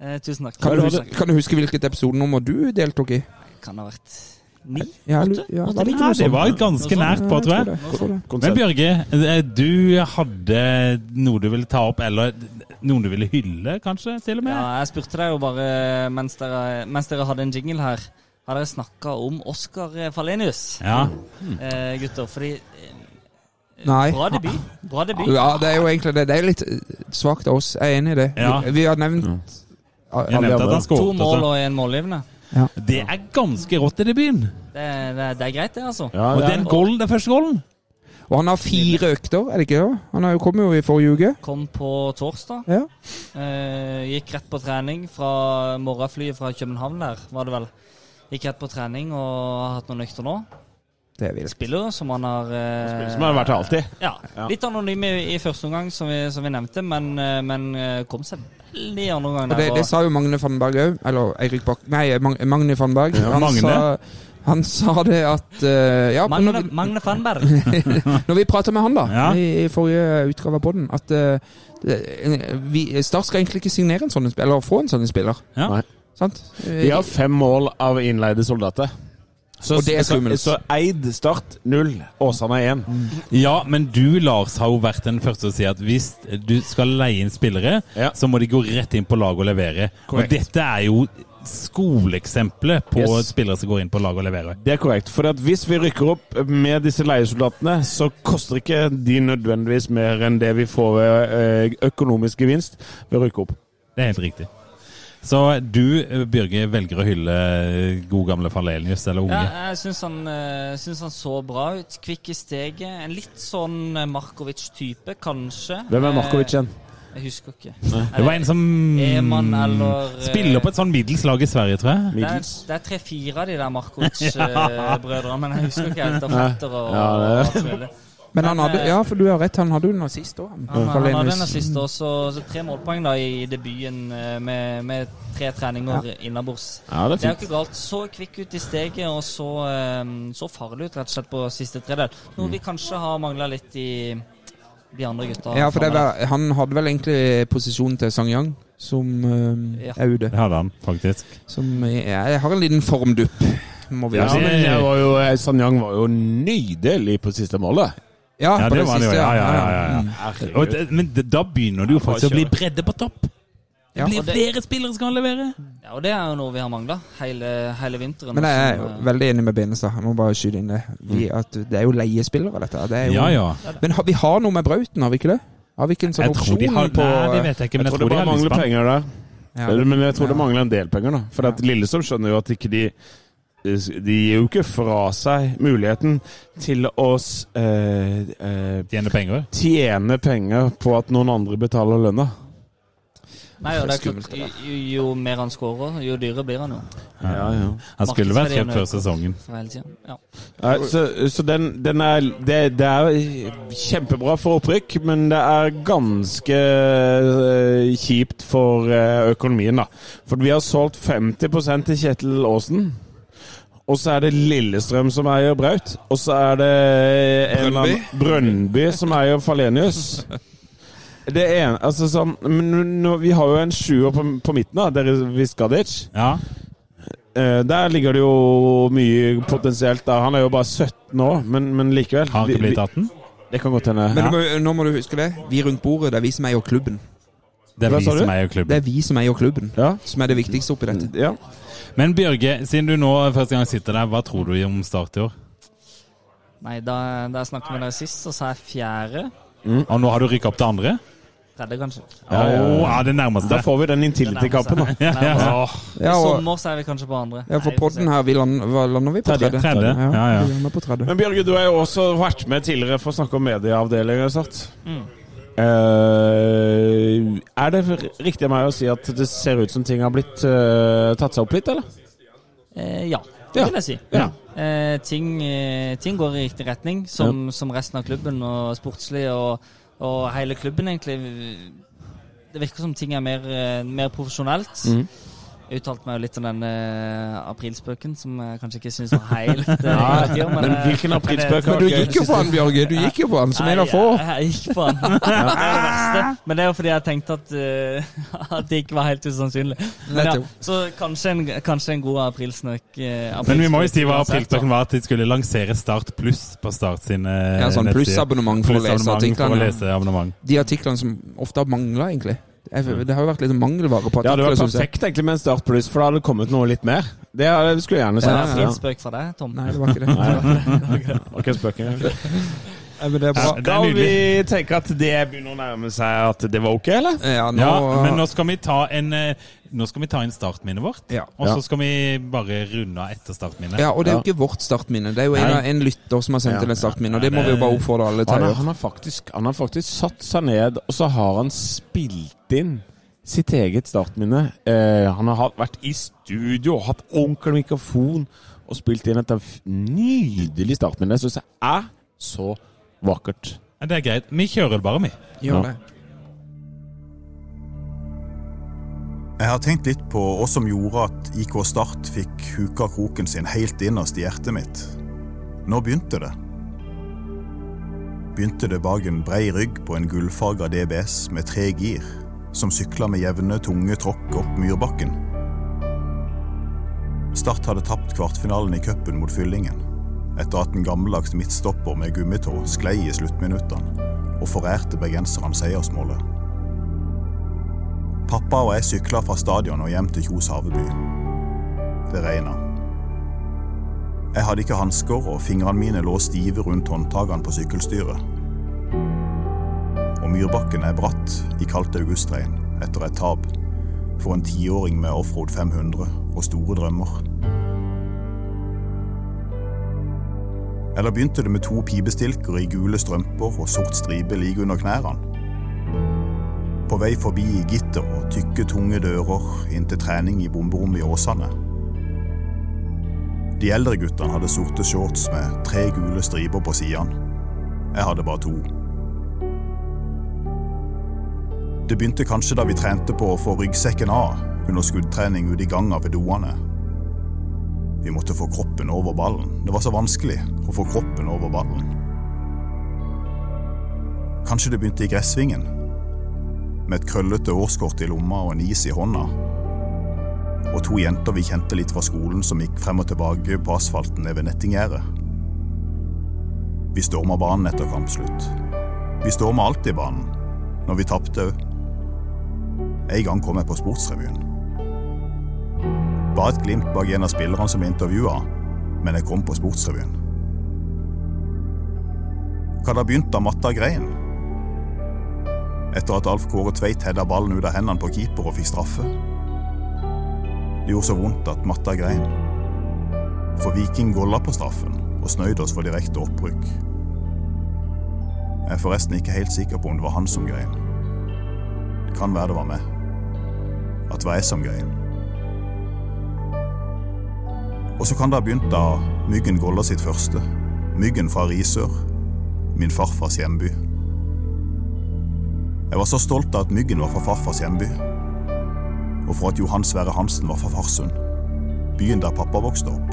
Speaker 8: Eh, tusen takk.
Speaker 4: Kan du,
Speaker 8: Tusen
Speaker 4: huske, kan du huske hvilket episodenummer du deltok i?
Speaker 8: takk. Kan det ha vært ni?
Speaker 4: Ja, lu-
Speaker 8: Åtte?
Speaker 4: ja,
Speaker 8: Åtte?
Speaker 4: var det ikke
Speaker 3: Ja,
Speaker 4: noe
Speaker 3: det
Speaker 4: sånt?
Speaker 3: var ganske nært på, tror jeg. Men
Speaker 5: Konsept.
Speaker 3: Bjørge, eh, du hadde noe du ville ta opp, eller noen du ville hylle, kanskje? til og med?
Speaker 8: Ja, jeg spurte deg jo bare eh, mens dere, mens dere hadde en jingle her. Har dere snakka om Oskar Falenius,
Speaker 3: Ja.
Speaker 5: Mm.
Speaker 8: eh, gutter? Fordi eh,
Speaker 4: Nei.
Speaker 8: Bra debut. Bra debut.
Speaker 4: Ja, det er jo egentlig det. Det er litt eh, svakt av oss. Jeg er enig i det.
Speaker 3: Ja.
Speaker 4: Vi, vi har nevnt
Speaker 3: Jeg
Speaker 4: alle
Speaker 3: nevnte at
Speaker 4: andre.
Speaker 3: han
Speaker 8: To
Speaker 3: skåret.
Speaker 8: mål
Speaker 3: Altså.
Speaker 8: og en målgivende.
Speaker 3: Det er ganske rått i debuten.
Speaker 8: Det, er- det, er- det er greit, det, altså.
Speaker 5: Ja,
Speaker 3: Og
Speaker 5: det er
Speaker 3: den goalen, den første goalen
Speaker 4: Og han har fire økter, er det ikke det? Han har jo kommet jo i forrige uke.
Speaker 8: Kom på torsdag.
Speaker 4: Ja.
Speaker 8: Eh, gikk rett på trening fra morgenflyet fra København der, var det vel. Gikk rett på trening og har hatt noen økter nå.
Speaker 4: Det er vilt.
Speaker 8: Spiller som han har eh,
Speaker 5: som har vært her alltid.
Speaker 8: Ja.
Speaker 5: Ja.
Speaker 8: Litt anonym i, i første omgang, som vi, som vi nevnte, men, eh, men eh, kom seg veldig i andre omgang.
Speaker 4: Og det,
Speaker 8: der, og-
Speaker 4: det sa jo Magne Fannberg òg. Eller Eirik Bak... Nei, Mag Magne Fannberg.
Speaker 3: Ja, Magne.
Speaker 4: Sa, han sa det at eh, Ja,
Speaker 8: Magne,
Speaker 4: når, vi-
Speaker 8: Magne Fannberg.
Speaker 4: når vi prata med han, da,
Speaker 3: Ja.
Speaker 4: i, i forrige utgave av podden, at eh, det- eh, vi, Start skal egentlig ikke signere en sånn en spiller, eller få en sånn en spiller.
Speaker 3: Ja.
Speaker 5: Nei.
Speaker 4: Sant?
Speaker 5: De har fem mål av innleide soldater. Så,
Speaker 4: Og det er
Speaker 5: så,
Speaker 4: skummelt.
Speaker 5: så Eid Start null, Åsane én.
Speaker 3: Ja, men du, Lars, har jo vært den første å si at hvis du skal leie inn spillere,
Speaker 5: Ja.
Speaker 3: så må de gå rett inn på lag og levere.
Speaker 4: Korrekt.
Speaker 3: Og dette er jo skoleeksempelet på
Speaker 5: Yes.
Speaker 3: spillere som går inn på lag og leverer.
Speaker 5: Det er korrekt. For at hvis vi rykker opp med disse leiesoldatene, så koster ikke de nødvendigvis mer enn det vi får ved eh, økonomisk gevinst ved å rykke opp.
Speaker 3: Det er helt riktig. Så du, eh, Bjørge, velger å hylle eh, god gamle Falenius, eller
Speaker 8: Ja,
Speaker 3: unge?
Speaker 8: jeg syns han, eh, syns han så bra ut. Kvikk i steget. En litt sånn eh, Markovic-type, kanskje.
Speaker 5: Hvem er Markovic igjen?
Speaker 8: Eh, Jeg husker ikke.
Speaker 3: Det var en som
Speaker 8: Eman eller eh,
Speaker 3: spiller på et sånn middels lag i Sverige, tror jeg.
Speaker 8: det er,
Speaker 5: Middels?
Speaker 8: det er tre-fire av de der Markovic-brødrene, men jeg husker ikke helt. Og fetter og,
Speaker 5: Ja,
Speaker 8: og alt mulig.
Speaker 4: Men han hadde Ja, for du har rett, han hadde jo en nazist òg.
Speaker 8: Han, han hadde en assist og så- så tre målpoeng da i debuten eh, med, med tre treninger innabords.
Speaker 5: Ja, det er
Speaker 8: Det er jo
Speaker 5: fint.
Speaker 8: ikke galt. Så kvikk ut i steget og så, eh, så farlig ut rett og slett på siste tredel.
Speaker 5: Mm.
Speaker 8: Noe vi kanskje har mangla litt i de andre gutta.
Speaker 4: Ja, for det
Speaker 8: framover.
Speaker 4: var, han hadde vel egentlig posisjonen til Sang Yang, som eh,
Speaker 8: Ja.
Speaker 4: er ute.
Speaker 3: Det hadde han, faktisk.
Speaker 4: Som jeg, jeg har en liten formdupp, må vi
Speaker 5: Ja,
Speaker 4: si.
Speaker 5: men jeg var jo, eh, Sanyang var jo nydelig på siste målet.
Speaker 4: Ja,
Speaker 3: Ja,
Speaker 4: på
Speaker 3: det
Speaker 4: den
Speaker 3: var han jo.
Speaker 4: siste,
Speaker 3: Ja, ja, ja. ja,
Speaker 4: Mm.
Speaker 3: ja. Og, det- men det- da begynner det jo faktisk å bli bredde på topp. Det
Speaker 4: Ja.
Speaker 3: blir
Speaker 8: Og det-
Speaker 3: flere spillere som kan levere.
Speaker 8: ja, og det er jo noe vi har mangla hele, hele vinteren.
Speaker 4: Men jeg er jo
Speaker 8: Som, eh,
Speaker 4: veldig enig med Benestad. Jeg må bare skyte inn det. Vi, at det er jo leiespillere, dette. Det er jo,
Speaker 3: Ja, ja.
Speaker 4: Men har, vi har noe med Brauten, har vi ikke det? Har vi ikke en sånn
Speaker 3: Jeg tror
Speaker 4: opsjon
Speaker 3: de har
Speaker 4: på
Speaker 3: Nei, det vet jeg ikke, men jeg
Speaker 5: Jeg tror det
Speaker 3: tror de
Speaker 5: bare
Speaker 3: har
Speaker 5: mangler
Speaker 3: lysband.
Speaker 5: penger der.
Speaker 4: Ja.
Speaker 5: Eller, Men jeg tror det
Speaker 4: Ja.
Speaker 5: mangler en del penger, da. For at Lillesund skjønner jo at ikke de De gir jo ikke fra seg muligheten til å s- eh, eh,
Speaker 3: Tjener penger.
Speaker 5: tjene penger på at noen andre betaler lønna.
Speaker 8: Nei, og det er
Speaker 4: Skummelt,
Speaker 8: klart, jo, jo mer han scorer, jo dyrere blir han jo.
Speaker 5: Ja, ja.
Speaker 3: Han skulle vært
Speaker 8: Markedsverdien
Speaker 3: kjøpt
Speaker 8: øker.
Speaker 3: før sesongen.
Speaker 8: Fra hele tiden. Ja.
Speaker 5: Nei, Så, så den, den er det, det er kjempebra for opprykk, men det er ganske eh, kjipt for eh, økonomien, da. For vi har solgt 50 til Kjetil Aasen. Og så er det Lillestrøm som eier Braut. Og så er det en eller annen- Brønnby som eier Falenius. Det ene, altså sånn, men nå, Vi har jo en sjuer på, på midten, da. Dere Viskadic.
Speaker 3: Ja.
Speaker 5: Eh, der ligger det jo mye potensielt. Da. Han er jo bare 17 år, men, men likevel.
Speaker 3: Har han ikke
Speaker 5: Vi- vi-
Speaker 3: blitt 18?
Speaker 5: Det kan godt hende.
Speaker 4: Men
Speaker 5: Ja.
Speaker 4: du må, nå må du huske det. Vi rundt bordet, det er vi som eier klubben.
Speaker 3: Det er
Speaker 5: Hva
Speaker 3: vi
Speaker 5: sa du?
Speaker 3: som eier
Speaker 4: Det
Speaker 3: klubben.
Speaker 4: er vi som eier klubben,
Speaker 5: Ja.
Speaker 4: som er det viktigste oppi dette.
Speaker 5: ja.
Speaker 3: Men Bjørge, siden du nå første gang sitter der, hva tror du om start i år?
Speaker 8: Nei, da, da jeg snakket med dere sist, så sa jeg fjerde.
Speaker 3: Og nå har du rykka opp til andre?
Speaker 8: 30, kanskje.
Speaker 3: Ja, ja, det nærmeste.
Speaker 5: Da får vi den
Speaker 8: Nærmer
Speaker 5: intility-kampen,
Speaker 8: seg.
Speaker 5: da.
Speaker 8: Nærmer seg. I
Speaker 4: Ja, og,
Speaker 8: sommer så er vi kanskje på andre.
Speaker 4: ja, for
Speaker 8: Nei, vi får se.
Speaker 4: podden her, vi land, hva lander vi på?
Speaker 3: Tredje.
Speaker 4: 30?
Speaker 3: Tredje, ja, ja.
Speaker 4: Vi lander på 30.
Speaker 5: Men Bjørge, du har jo også vært med tidligere for å snakke om medieavdelingen. Sant? Eh, er det riktig av meg å si at det ser ut som ting har blitt eh, tatt seg opp litt, eller?
Speaker 8: Eh, ja, det
Speaker 5: Ja.
Speaker 8: vil jeg si.
Speaker 5: Ja.
Speaker 8: Eh, ting, eh, ting går i riktig retning, som, som resten av klubben og sportslig og, og hele klubben, egentlig. Det virker som ting er mer, eh, mer profesjonelt.
Speaker 4: Mm.
Speaker 8: Jeg uttalte meg jo litt om den eh, aprilspøken, som jeg kanskje ikke syns var helt eh, riktig, men,
Speaker 5: men
Speaker 8: eh,
Speaker 5: hvilken aprilspøk
Speaker 8: men
Speaker 5: har
Speaker 4: Du
Speaker 8: det-
Speaker 4: gikk jo på han, Bjørge. Du gikk jo på han, som en av få.
Speaker 8: Nei, Jeg, jeg gikk på han. Det er det verste. Men det er jo fordi jeg tenkte at, eh, at det ikke var helt usannsynlig. Men ja,
Speaker 4: Nettopp.
Speaker 8: så kanskje en, kanskje en god aprilsnøk. eh,
Speaker 3: Men vi må jo si hva
Speaker 8: uansett,
Speaker 3: aprilspøken
Speaker 8: da.
Speaker 3: var, at de skulle lansere Start Pluss på Start eh, sine
Speaker 4: Ja, sånn plussabonnement for å lese
Speaker 3: Plussabonnement for å
Speaker 4: artiklene.
Speaker 3: lese abonnement.
Speaker 4: De artiklene som ofte har mangla, egentlig. Jeg- Det har jo vært litt mangelvare på
Speaker 5: Det hadde
Speaker 4: artikler.
Speaker 5: vært
Speaker 4: synes jeg.
Speaker 5: perfekt egentlig med en Start Pluss, for da hadde det kommet noe litt mer. Det hadde- skulle jeg gjerne
Speaker 8: Så det er
Speaker 5: sett. Ja.
Speaker 8: aprilspøk fra deg, Tom.
Speaker 4: Nei, det var ikke det.
Speaker 5: Ok, spøken.
Speaker 4: Nei, men det er bra.
Speaker 3: Det er
Speaker 5: Skal
Speaker 3: nydelig.
Speaker 5: vi tenke at det begynner å nærme seg at det var ok, eller?
Speaker 4: Ja, nå, eh,
Speaker 3: Ja, men nå skal vi ta en eh, Nå skal vi ta inn startminnet vårt,
Speaker 4: Ja.
Speaker 3: og
Speaker 5: Ja.
Speaker 3: så skal vi bare runde av etter startminnet.
Speaker 4: Ja, og det er jo ikke vårt startminne. Det er jo en,
Speaker 5: Nei.
Speaker 4: av- en lytter som har sendt inn et startminne, og det må vi jo bare oppfordre alle til
Speaker 5: Han
Speaker 4: å
Speaker 5: har,
Speaker 4: gjøre.
Speaker 5: han, har faktisk, han har faktisk satt seg ned, og så har han spilt inn sitt eget startminne. Eh, han har hatt- vært i studio, hatt ordentlig mikrofon og spilt inn et f- nydelig startminne. Jeg syns det er så vakkert.
Speaker 3: Ja, Det er greit. Vi kjører det bare, vi.
Speaker 4: Gjør
Speaker 5: Ja.
Speaker 4: det.
Speaker 7: Jeg har tenkt litt på hva som gjorde at IK Start fikk huka kroken sin helt innerst i hjertet mitt. Nå begynte det. Begynte det bak en brei rygg på en gullfarga DBS med tre gir, som sykla med jevne, tunge tråkk opp myrbakken. Start hadde tapt kvartfinalen i cupen mot Fyllingen, etter at en gammeldags midtstopper med gummitå sklei i sluttminuttene og forærte bergenserne seiersmålet. Pappa og jeg sykla fra stadion og hjem til Kjos Haveby. Det regna. Jeg hadde ikke hansker, og fingrene mine lå stive rundt håndtakene på sykkelstyret. Og myrbakken er bratt i kaldt augustregn etter et tap for en tiåring med offroad 500 og store drømmer. Eller begynte det med to pibestilker i gule strømper og sort stripe like under knærne? På vei forbi gitter og tykke, tunge dører inn til trening i bomberommet i Åsane. De eldre guttene hadde sorte shorts med tre gule striper på sidene. Jeg hadde bare to. Det begynte kanskje da vi trente på å få ryggsekken av under skuddtrening ute i ganga ved doene. Vi måtte få kroppen over ballen. Det var så vanskelig å få kroppen over ballen. Kanskje det begynte i gressvingen, med et krøllete årskort i lomma og en is i hånda. Og to jenter vi kjente litt fra skolen som gikk frem og tilbake på asfalten nede ved nettinggjerdet. Vi storma banen etter kampslutt. Vi storma alltid banen, når vi tapte òg. En gang kom jeg på Sportsrevyen. Bare et glimt bak en av spillerne som ble intervjua, men jeg kom på Sportsrevyen. Hva da begynte Matta Grein? etter at Alf Kåre Tveit hedda ballen ut av hendene på keeper og fikk straffe. Det gjorde så vondt at matta grein. For Viking golla på straffen og snøyd oss for direkte opprykk. Jeg er forresten ikke helt sikker på om det var han som grein. Det kan være det var meg. At det var jeg som grein. Og så kan det ha begynt da Myggen golla sitt første. Myggen fra Risør, min farfars hjemby. Jeg var så stolt av at Myggen var fra farfars hjemby. Og for at Johan Sverre Hansen var fra Farsund. Byen der pappa vokste opp.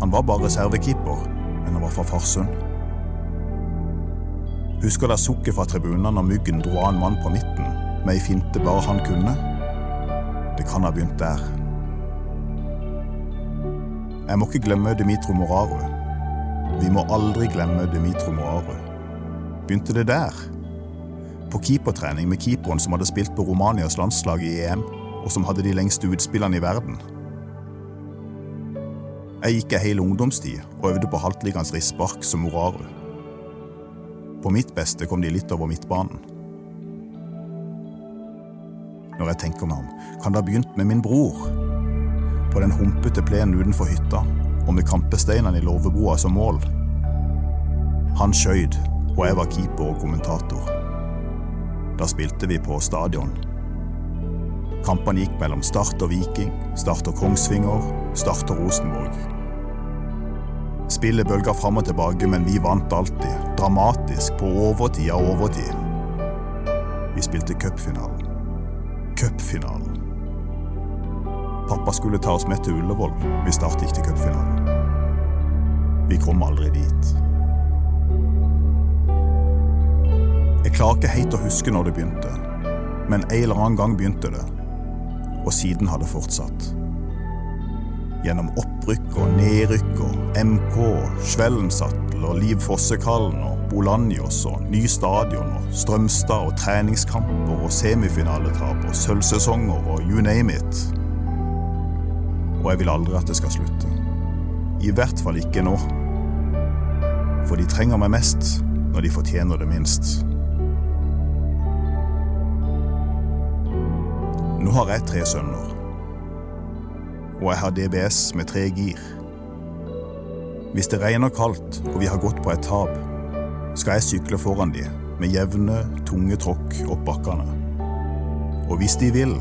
Speaker 7: Han var bare reservekeeper, men han var fra Farsund. Husker dere sukket fra tribunen når Myggen dro av en mann på midten med ei finte bare han kunne? Det kan ha begynt der. Jeg må ikke glemme Dimitro Moraru. Vi må aldri glemme Dimitro Moraru. Begynte det der? på keepertrening med keeperen som hadde spilt på Romanias landslag i EM, og som hadde de lengste utspillene i verden. Jeg gikk ei hel ungdomstid og øvde på haltliggende rispark som Moraru. På mitt beste kom de litt over midtbanen. når jeg tenker meg om, kan det ha begynt med min bror. På den humpete plenen utenfor hytta, og med kampesteinene i låveboa som mål. Han skøyt, og jeg var keeper og kommentator. Da spilte vi på stadion. Kampene gikk mellom Start og Viking, Start og Kongsvinger, Start og Rosenborg. Spillet bølga fram og tilbake, men vi vant alltid. Dramatisk, på overtid av overtid. Vi spilte cupfinalen. Cupfinalen. Pappa skulle ta oss med til Ullevål. Vi startet ikke til cupfinalen. Vi kom aldri dit. Jeg klarer ikke helt å huske når det begynte, men en eller annen gang begynte det. Og siden har det fortsatt gjennom opprykk og nedrykk og MK, Svellensattel og Liv Fossekallen og Bolanjos og ny stadion og Strømstad og treningskamper og semifinaletap og sølvsesonger og you name it. Og jeg vil aldri at det skal slutte. I hvert fall ikke nå. For de trenger meg mest når de fortjener det minst. Nå har jeg tre sønner og jeg har DBS med tre gir. Hvis det regner kaldt og vi har gått på et tap, skal jeg sykle foran de med jevne, tunge tråkk opp bakkene. Og hvis de vil,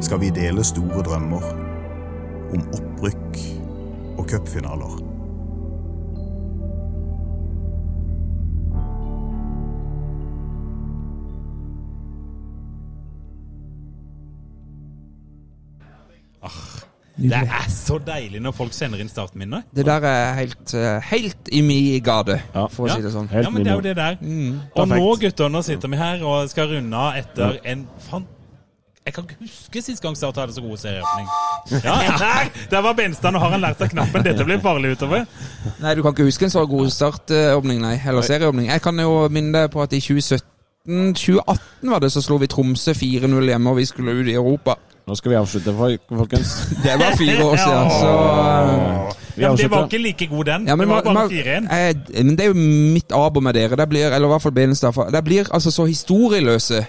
Speaker 7: skal vi dele store drømmer om opprykk og cupfinaler.
Speaker 3: Det er så deilig når folk sender inn startminner.
Speaker 4: Det der er helt, eh, helt i mi gade,
Speaker 5: Ja.
Speaker 4: for å si det sånn.
Speaker 5: Helt
Speaker 3: Ja, men det er jo
Speaker 5: nydelig.
Speaker 3: det der.
Speaker 4: Mm.
Speaker 3: Og nå, gutter, nå sitter vi her og skal runde av etter en fan... Jeg kan ikke huske sist gang Start hadde så god serieåpning. Ja, nei, der var Benstad, nå har han lært seg knappen. Dette blir farlig utover.
Speaker 4: Nei, du kan ikke huske en så god startåpning, nei. Eller serieåpning. Jeg kan jo minne deg på at i 2017 2018 var det, så slo vi Tromsø 4-0 hjemme, og vi skulle ut i Europa.
Speaker 5: Nå skal vi avslutte, folk- folkens.
Speaker 4: Det var fire år siden, så eh,
Speaker 5: Vi
Speaker 3: Ja, men det var
Speaker 5: avslutter.
Speaker 3: ikke like god den.
Speaker 4: ja, men,
Speaker 3: det var
Speaker 4: ma-
Speaker 3: bare
Speaker 4: ma-
Speaker 3: 4-1.
Speaker 4: eh, men det er jo mitt abo med dere. Det blir, eller i hvert fall Benestad. for- Det blir altså så historieløse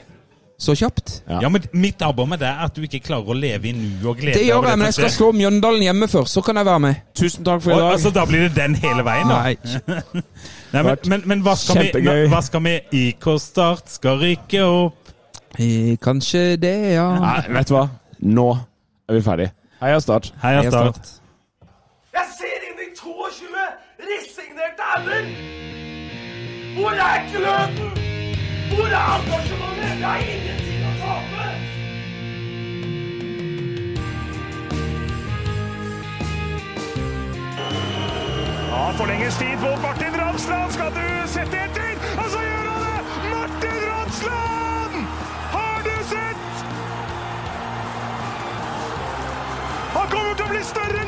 Speaker 4: så kjapt.
Speaker 5: Ja.
Speaker 3: Ja, men mitt arbeid med det er at du ikke klarer å leve i nu og glede
Speaker 4: Det
Speaker 3: deg
Speaker 4: gjør
Speaker 3: over
Speaker 4: jeg, men jeg
Speaker 3: som
Speaker 4: skal slå Mjøndalen hjemme først. Så kan jeg være med.
Speaker 5: Tusen takk for
Speaker 3: skjer. Og,
Speaker 5: i dag.
Speaker 3: altså, da blir det den hele veien, da.
Speaker 4: Nei.
Speaker 3: Nei, men, men, men hva skal vi
Speaker 5: Kjempegøy.
Speaker 3: hva skal vi IK-start skal rykke opp.
Speaker 4: Eh, Kanskje det, ja.
Speaker 5: Nei, vet du hva? Nå er vi ferdig. Heia Start.
Speaker 3: Heia Start.
Speaker 1: Jeg ser inn i 22 resignerte ender! Hvor er gløden? Hvor er engasjementet? Det er ingenting å tape!
Speaker 2: Han forlenges tid mot Martin Ramsland. Skal du sette etter? Og så gjør han det! Martin Ramsland! Har du sett? Han kommer til å bli større enn